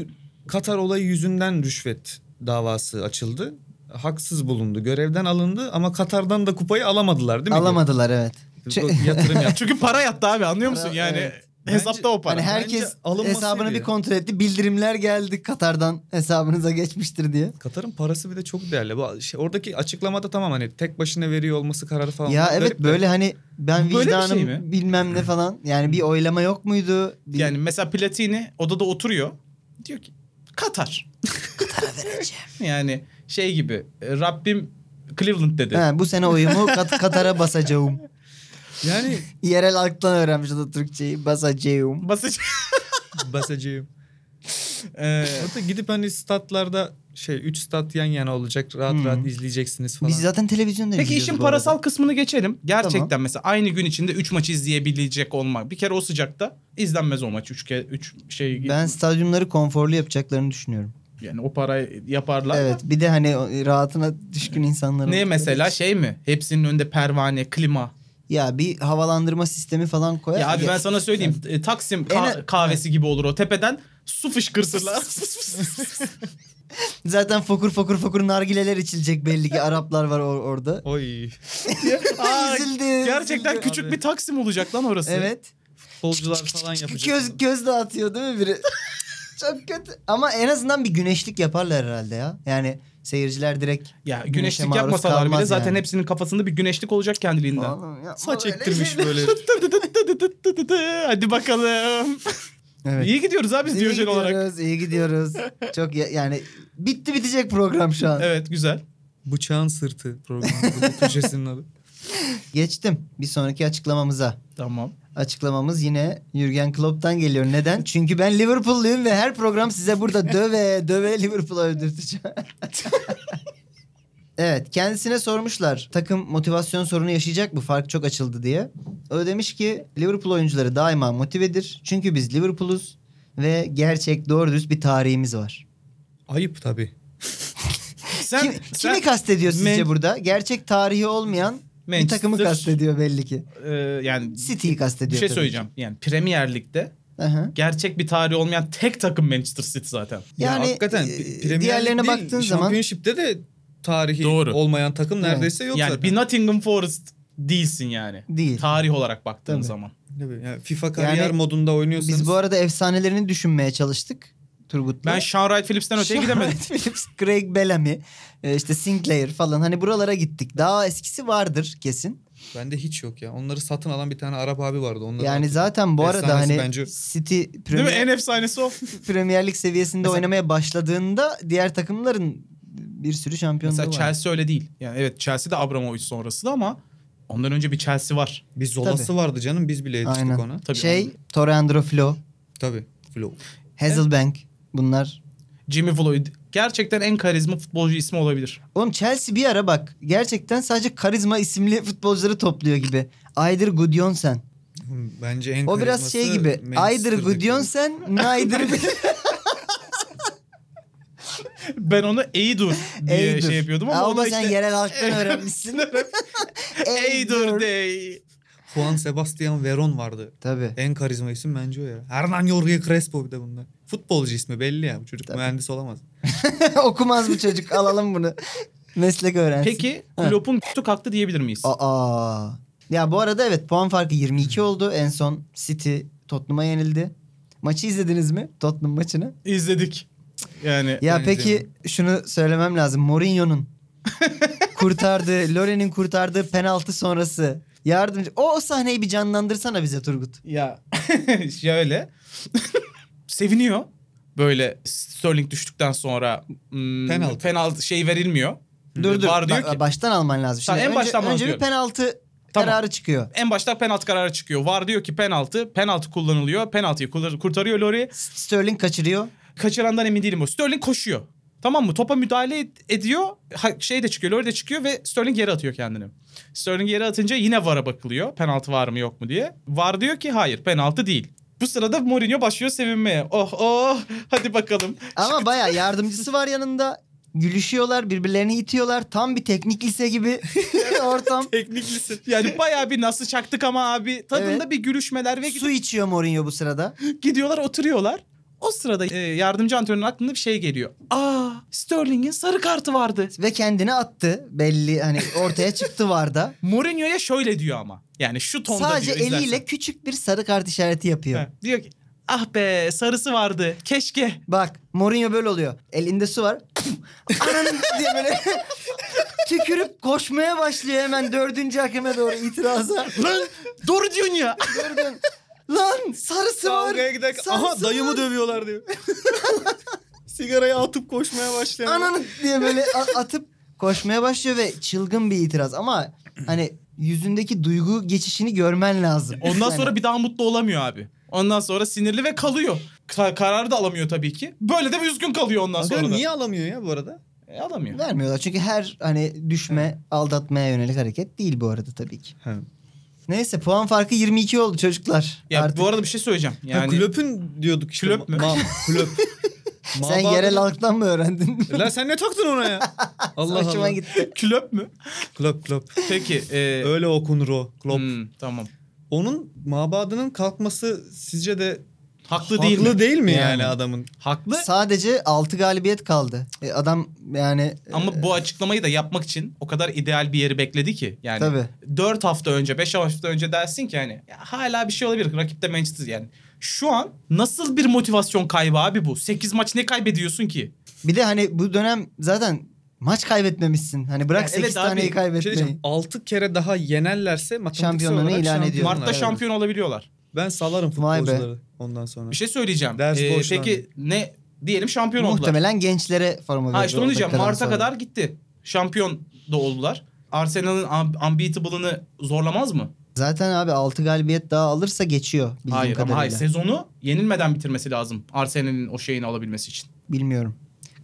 [SPEAKER 4] Katar olayı yüzünden rüşvet davası açıldı. Haksız bulundu. Görevden alındı ama Katar'dan da kupayı alamadılar değil mi?
[SPEAKER 2] Alamadılar evet.
[SPEAKER 4] Bu
[SPEAKER 2] *laughs*
[SPEAKER 4] Yatırım yaptı.
[SPEAKER 5] Çünkü para yattı abi anlıyor musun?
[SPEAKER 2] Para,
[SPEAKER 5] Yani
[SPEAKER 2] evet.
[SPEAKER 5] hesapta o para.
[SPEAKER 2] Hani herkes
[SPEAKER 4] Bence alınmasıydı
[SPEAKER 2] hesabını
[SPEAKER 4] ya.
[SPEAKER 2] bir kontrol etti. Bildirimler geldi Katar'dan hesabınıza geçmiştir diye.
[SPEAKER 4] Katar'ın parası bir de çok değerli. Bu şey, oradaki açıklamada tamam hani tek başına veriyor olması kararı falan.
[SPEAKER 2] ya
[SPEAKER 4] Garip
[SPEAKER 2] evet
[SPEAKER 4] de.
[SPEAKER 2] böyle hani ben
[SPEAKER 5] Böyle bir şey
[SPEAKER 2] vicdanım
[SPEAKER 5] mi?
[SPEAKER 2] bilmem ne falan. Yani bir oylama yok muydu? Bir-
[SPEAKER 5] Yani mesela Platini odada oturuyor. Diyor ki
[SPEAKER 2] *laughs*
[SPEAKER 5] Katar. yani şey gibi e, Rabbim Cleveland dedi.
[SPEAKER 2] He, bu sene oyumu Kat- Katar'a
[SPEAKER 5] *laughs*
[SPEAKER 2] basacağım.
[SPEAKER 4] Yani
[SPEAKER 2] Yerel halktan öğrenmiş o da Türkçeyi. Basacağım. *laughs*
[SPEAKER 5] Basıcı.
[SPEAKER 4] *laughs* basacağım.
[SPEAKER 5] Ee,
[SPEAKER 4] Orada gidip hani statlarda şey 3 stat yan yana olacak. Rahat
[SPEAKER 2] Hmm.
[SPEAKER 4] rahat izleyeceksiniz falan.
[SPEAKER 2] Biz zaten televizyonda
[SPEAKER 5] Peki
[SPEAKER 2] izliyoruz
[SPEAKER 5] işin
[SPEAKER 2] bu arada.
[SPEAKER 5] parasal kısmını geçelim. Gerçekten
[SPEAKER 2] Tamam.
[SPEAKER 5] mesela aynı gün içinde 3 maçı izleyebilecek olmak. Bir kere o sıcakta izlenmez o maç. 3 üç şey
[SPEAKER 2] Ben stadyumları konforlu yapacaklarını düşünüyorum.
[SPEAKER 5] yani o parayı yaparlar.
[SPEAKER 2] Evet bir de hani o- rahatına düşkün insanların.
[SPEAKER 5] Ne mesela şey mi? Hepsinin önünde pervane, klima.
[SPEAKER 2] Ya bir havalandırma sistemi falan koyar.
[SPEAKER 5] Ya abi ben sana söyleyeyim. e, Taksim ka-
[SPEAKER 2] En-
[SPEAKER 5] kahvesi gibi olur o. Tepeden su
[SPEAKER 2] *laughs*
[SPEAKER 5] fışkırtırlar.
[SPEAKER 2] Zaten fokur fokur fokur nargileler içilecek belli ki Araplar var or- orada.
[SPEAKER 4] Oy.
[SPEAKER 5] Aa,
[SPEAKER 2] Üzüldü,
[SPEAKER 5] Gerçekten
[SPEAKER 2] üzüldü.
[SPEAKER 5] küçük
[SPEAKER 4] Abi.
[SPEAKER 5] bir Taksim olacak lan orası.
[SPEAKER 2] Evet.
[SPEAKER 4] Futbolcular falan yapacak.
[SPEAKER 2] Göz, göz dağıtıyor değil mi biri? *laughs* Çok kötü. Ama en azından bir güneşlik yaparlar herhalde ya. Yani seyirciler direkt
[SPEAKER 5] Ya
[SPEAKER 2] Güneşe
[SPEAKER 5] güneşlik
[SPEAKER 2] maruz
[SPEAKER 5] yapmasalar bile
[SPEAKER 2] kalmaz
[SPEAKER 5] zaten
[SPEAKER 2] yani.
[SPEAKER 5] hepsinin kafasında bir güneşlik olacak kendiliğinden.
[SPEAKER 2] Oğlum yapma
[SPEAKER 4] Saç
[SPEAKER 2] böyle
[SPEAKER 4] ektirmiş
[SPEAKER 2] şeyler.
[SPEAKER 4] böyle.
[SPEAKER 5] Hadi bakalım.
[SPEAKER 2] *laughs* Evet.
[SPEAKER 5] İyi gidiyoruz abi biz
[SPEAKER 2] İyi
[SPEAKER 5] Diyojen
[SPEAKER 2] gidiyoruz,
[SPEAKER 5] olarak.
[SPEAKER 2] iyi gidiyoruz. Çok ya- yani bitti bitecek program şu an.
[SPEAKER 5] Evet güzel.
[SPEAKER 4] Bıçağın sırtı programı. Bu *laughs* köşesinin adı.
[SPEAKER 2] Geçtim bir sonraki açıklamamıza.
[SPEAKER 5] Tamam.
[SPEAKER 2] açıklamamız yine Jürgen Klopp'tan geliyor. Neden? Çünkü ben Liverpool'luyum ve her program size burada döve döve Liverpool'a öldürteceğim.
[SPEAKER 5] *laughs*
[SPEAKER 2] evet kendisine sormuşlar takım motivasyon sorunu yaşayacak mı fark çok açıldı diye. O demiş ki Liverpool oyuncuları daima motivedir. Çünkü biz Liverpool'uz ve gerçek doğru dürüst bir tarihimiz var.
[SPEAKER 4] Ayıp tabii.
[SPEAKER 5] Sen,
[SPEAKER 2] Kim-
[SPEAKER 5] sen
[SPEAKER 2] kimi kastediyor sizce
[SPEAKER 5] Men-
[SPEAKER 2] burada? Gerçek tarihi olmayan bir
[SPEAKER 5] Manchester-
[SPEAKER 2] takımı kastediyor belli ki.
[SPEAKER 5] e, yani
[SPEAKER 2] City'yi
[SPEAKER 5] bir
[SPEAKER 2] kastediyor.
[SPEAKER 5] şey
[SPEAKER 2] tabii ki.
[SPEAKER 5] söyleyeceğim. Yani Premier Lig'de
[SPEAKER 2] Aha.
[SPEAKER 5] gerçek bir tarihi olmayan tek takım Manchester City zaten.
[SPEAKER 2] Yani
[SPEAKER 4] ya
[SPEAKER 2] e,
[SPEAKER 4] hakikaten Premier Lig
[SPEAKER 2] diğerlerine
[SPEAKER 4] değil,
[SPEAKER 2] baktığın zaman
[SPEAKER 4] Championship'te de tarihi
[SPEAKER 3] Doğru.
[SPEAKER 4] olmayan takım
[SPEAKER 2] Evet.
[SPEAKER 4] neredeyse yok
[SPEAKER 5] yani
[SPEAKER 4] zaten.
[SPEAKER 5] bir Nottingham Forest değilsin yani.
[SPEAKER 2] değil.
[SPEAKER 5] Tarih olarak baktığın
[SPEAKER 2] Tabii.
[SPEAKER 5] zaman.
[SPEAKER 4] Tabii, yani FIFA kariyer
[SPEAKER 2] Yani
[SPEAKER 4] modunda oynuyorsanız.
[SPEAKER 2] Biz bu arada efsanelerini düşünmeye çalıştık Turgut'la.
[SPEAKER 5] Ben Sean Wright Phillips'ten
[SPEAKER 2] *laughs*
[SPEAKER 5] öteye gidemedim.
[SPEAKER 2] Sean Phillips, Craig Bellamy, e, işte Sinclair falan hani buralara gittik. Daha eskisi vardır kesin.
[SPEAKER 4] Bende hiç yok ya. Onları satın alan bir tane Arap abi vardı. Onları
[SPEAKER 2] Yani zaten bu arada
[SPEAKER 4] Efsanesi
[SPEAKER 2] hani
[SPEAKER 4] bence-
[SPEAKER 2] City
[SPEAKER 5] Değil mi? En
[SPEAKER 2] Premier,
[SPEAKER 5] efsanesi o.
[SPEAKER 2] Premier Lig seviyesinde oynamaya başladığında diğer takımların bir sürü şampiyonluğu
[SPEAKER 5] Mesela
[SPEAKER 2] var.
[SPEAKER 5] Chelsea öyle değil. Yani evet Chelsea de Abramovich sonrası da ama ondan önce bir Chelsea var.
[SPEAKER 4] bir Zolası
[SPEAKER 2] Tabii.
[SPEAKER 4] vardı canım. Biz bile yetiştik
[SPEAKER 2] Aynen.
[SPEAKER 4] ona.
[SPEAKER 5] Tabii
[SPEAKER 2] şey,
[SPEAKER 5] onun-
[SPEAKER 2] Torreandro Flo,
[SPEAKER 4] Tabii. Flow.
[SPEAKER 2] Hazelbank bunlar
[SPEAKER 5] Jimmy Floyd gerçekten en karizma futbolcu ismi olabilir. *laughs*
[SPEAKER 2] Oğlum Chelsea bir ara bak gerçekten sadece karizma isimli futbolcuları topluyor gibi. Aydır Gudjonsen.
[SPEAKER 4] Bence en
[SPEAKER 2] O biraz şey
[SPEAKER 4] karizması
[SPEAKER 2] gibi. Aydır
[SPEAKER 4] Manchester'daki.
[SPEAKER 2] Gudjonsen, Naydır
[SPEAKER 5] *laughs* Ben onu Eydur diye
[SPEAKER 2] Eydur.
[SPEAKER 5] şey yapıyordum ama, o
[SPEAKER 2] Ama
[SPEAKER 5] da
[SPEAKER 2] sen
[SPEAKER 5] işte
[SPEAKER 2] yerel
[SPEAKER 5] *laughs*
[SPEAKER 2] halktan öğrenmişsin. *laughs*
[SPEAKER 5] Eydur Day.
[SPEAKER 4] Juan Sebastian Veron vardı.
[SPEAKER 2] Tabii.
[SPEAKER 4] En karizma isim bence o ya. Hernan Jorge Crespo bir de bunlar. Futbolcu ismi belli ya. Bu çocuk
[SPEAKER 2] Tabii.
[SPEAKER 4] mühendis olamaz.
[SPEAKER 2] *laughs*
[SPEAKER 5] E-
[SPEAKER 2] Okumaz bu çocuk. Alalım bunu. Meslek öğrensin.
[SPEAKER 5] Peki Klopp'un kutu kalktı diyebilir miyiz?
[SPEAKER 2] Aa. Ya bu arada evet puan farkı 22 oldu. En son City Tottenham'a yenildi. Maçı izlediniz mi? Tottenham maçını.
[SPEAKER 5] İzledik. Yani
[SPEAKER 2] Ya
[SPEAKER 4] Ben
[SPEAKER 2] peki
[SPEAKER 4] izlemedim.
[SPEAKER 2] şunu söylemem lazım.
[SPEAKER 5] *laughs*
[SPEAKER 2] Mourinho'nun kurtardığı, Loren'in kurtardığı penaltı sonrası yardımcı. O, o sahneyi bir canlandırsana bize Turgut.
[SPEAKER 5] ya *laughs* şöyle *laughs* seviniyor. Böyle Sterling düştükten sonra hmm,
[SPEAKER 4] Penaltı.
[SPEAKER 5] penaltı şey verilmiyor.
[SPEAKER 2] Dur dur.
[SPEAKER 5] Var diyor
[SPEAKER 2] Ba-
[SPEAKER 5] ki-
[SPEAKER 2] Baştan alman lazım.
[SPEAKER 5] Tamam, en
[SPEAKER 2] önce,
[SPEAKER 5] baştan
[SPEAKER 2] önce bir
[SPEAKER 5] başlıyorum.
[SPEAKER 2] penaltı
[SPEAKER 5] Tamam.
[SPEAKER 2] kararı çıkıyor.
[SPEAKER 5] En başta penaltı kararı çıkıyor. Var diyor ki penaltı. Penaltı kullanılıyor. Penaltıyı kullan- kurtarıyor Lori.
[SPEAKER 2] Sterling kaçırıyor.
[SPEAKER 5] Kaçırandan emin değilim o. Sterling koşuyor. Tamam mı? Topa müdahale ed- ediyor. Ha, şey de çıkıyor. Lori de çıkıyor ve Sterling yere atıyor kendini. Sterling yere atınca yine VAR'a bakılıyor. Penaltı var mı yok mu diye. VAR diyor ki hayır penaltı değil. Bu sırada Mourinho başlıyor sevinmeye. Oh oh hadi bakalım.
[SPEAKER 2] Ama baya yardımcısı var yanında. Gülüşüyorlar, birbirlerini itiyorlar. Tam bir teknik lise gibi *laughs* ortam.
[SPEAKER 5] Tekniklisin. Yani bayağı bir nasıl çaktık ama abi tadında
[SPEAKER 2] Evet.
[SPEAKER 5] bir gülüşmeler ve
[SPEAKER 2] Su içiyor Mourinho bu sırada.
[SPEAKER 5] gidiyorlar oturuyorlar. O sırada e, yardımcı antrenörün aklına bir şey geliyor. Aa Sterling'in sarı kartı vardı.
[SPEAKER 2] Ve kendini attı. Belli hani ortaya çıktı Varda.
[SPEAKER 5] Mourinho'ya şöyle diyor ama. Yani şu *laughs* tonda
[SPEAKER 2] Sadece
[SPEAKER 5] diyor, izlersen.
[SPEAKER 2] eliyle küçük bir sarı kart işareti yapıyor.
[SPEAKER 5] Ha, Diyor ki ah be sarısı vardı keşke.
[SPEAKER 2] Bak Mourinho böyle oluyor. Elinde su var. Ananın diye
[SPEAKER 5] *laughs*
[SPEAKER 2] böyle tükürüp koşmaya başlıyor hemen dördüncü hakeme doğru itiraza.
[SPEAKER 5] Lan doğru diyorsun *laughs* ya.
[SPEAKER 2] Dördün. Lan sarısı var.
[SPEAKER 4] Kavgaya giderken
[SPEAKER 2] sarısı
[SPEAKER 4] aha dayımı
[SPEAKER 2] var.
[SPEAKER 5] *laughs*
[SPEAKER 4] dövüyorlar diyor. Sigarayı atıp koşmaya başlayan.
[SPEAKER 2] Ananın diye böyle a- atıp koşmaya başlıyor ve çılgın bir itiraz. Ama hani yüzündeki duygu geçişini görmen lazım.
[SPEAKER 5] Ondan
[SPEAKER 2] Yani
[SPEAKER 5] sonra bir daha mutlu olamıyor abi. Ondan sonra sinirli ve kalıyor. Ka- karar da alamıyor tabii ki. Böyle de üzgün kalıyor ondan
[SPEAKER 4] Hakikaten
[SPEAKER 5] sonra da.
[SPEAKER 4] niye alamıyor ya bu arada?
[SPEAKER 5] E, alamıyor.
[SPEAKER 2] vermiyorlar. Çünkü her hani düşme, aldatmaya yönelik hareket değil bu arada tabii ki.
[SPEAKER 4] He.
[SPEAKER 2] Neyse puan farkı 22 oldu çocuklar.
[SPEAKER 5] Ya
[SPEAKER 2] Artık
[SPEAKER 5] bu arada bir şey söyleyeceğim.
[SPEAKER 4] Yani,
[SPEAKER 5] Yani
[SPEAKER 4] klöpün diyorduk işte.
[SPEAKER 5] Klöp mü?
[SPEAKER 2] *laughs*
[SPEAKER 4] Ma- klöp.
[SPEAKER 2] sen
[SPEAKER 4] Mabadın-
[SPEAKER 2] yerel halktan mı öğrendin? *laughs*
[SPEAKER 4] Lan sen ne taktın ona ya? Allah
[SPEAKER 2] Hoşuma
[SPEAKER 4] Allah.
[SPEAKER 2] gitti.
[SPEAKER 5] klöp mü?
[SPEAKER 4] Klöp klöp.
[SPEAKER 5] Peki. E,
[SPEAKER 4] *laughs* Öyle okunur o. Klop.
[SPEAKER 5] hmm, tamam.
[SPEAKER 4] Onun mabadının kalkması sizce de
[SPEAKER 5] Haklı,
[SPEAKER 4] haklı
[SPEAKER 5] değil mi?
[SPEAKER 4] değil mi yani,
[SPEAKER 2] Yani.
[SPEAKER 4] adamın? şey
[SPEAKER 5] Haklı
[SPEAKER 2] Sadece 6 galibiyet kaldı. E, adam yani e,
[SPEAKER 5] Ama
[SPEAKER 4] Ee,
[SPEAKER 5] bu açıklamayı da yapmak için o kadar ideal bir yeri bekledi ki. Yani
[SPEAKER 2] Tabii.
[SPEAKER 5] 4 hafta önce, 5 hafta önce dersin ki hani "Ya hala bir şey olabilir. Rakipte Manchester yani. Şu an nasıl bir motivasyon kaybı abi bu? 8 maç ne kaybediyorsun ki?
[SPEAKER 2] bir de hani bu dönem zaten maç kaybetmemişsin. Hani bırak
[SPEAKER 5] Ya
[SPEAKER 2] 8
[SPEAKER 5] evet abi,
[SPEAKER 2] taneyi
[SPEAKER 5] bir şey
[SPEAKER 4] Bir Şey
[SPEAKER 2] kaybetmeyi.
[SPEAKER 4] diyeceğim. 6 kere daha yenerlerse matematiksel
[SPEAKER 2] Şampiyonluğunu
[SPEAKER 4] olarak
[SPEAKER 2] ilan
[SPEAKER 4] şampiyon-
[SPEAKER 2] ediyorlar.
[SPEAKER 5] Mart'ta
[SPEAKER 2] evet.
[SPEAKER 5] şampiyon olabiliyorlar.
[SPEAKER 4] Ben salarım
[SPEAKER 2] Vay be.
[SPEAKER 4] futbolcuları ondan sonra.
[SPEAKER 5] Bir şey söyleyeceğim.
[SPEAKER 4] Ders
[SPEAKER 5] Ee,
[SPEAKER 4] borçlandı.
[SPEAKER 5] peki ne diyelim şampiyon oldular.
[SPEAKER 2] Muhtemelen gençlere forma verdi.
[SPEAKER 5] Ha işte onu
[SPEAKER 2] o
[SPEAKER 5] diyeceğim.
[SPEAKER 2] dakikadan
[SPEAKER 5] Mart'a
[SPEAKER 2] sonra.
[SPEAKER 5] kadar gitti. Şampiyon da oldular. Arsenal'ın un- unbeatable'ını zorlamaz mı?
[SPEAKER 2] Zaten abi 6 galibiyet daha alırsa geçiyor bildiğim
[SPEAKER 5] Hayır ama
[SPEAKER 2] kadarıyla.
[SPEAKER 5] hayır sezonu yenilmeden bitirmesi lazım. Arsenal'in o şeyini alabilmesi için.
[SPEAKER 2] Bilmiyorum.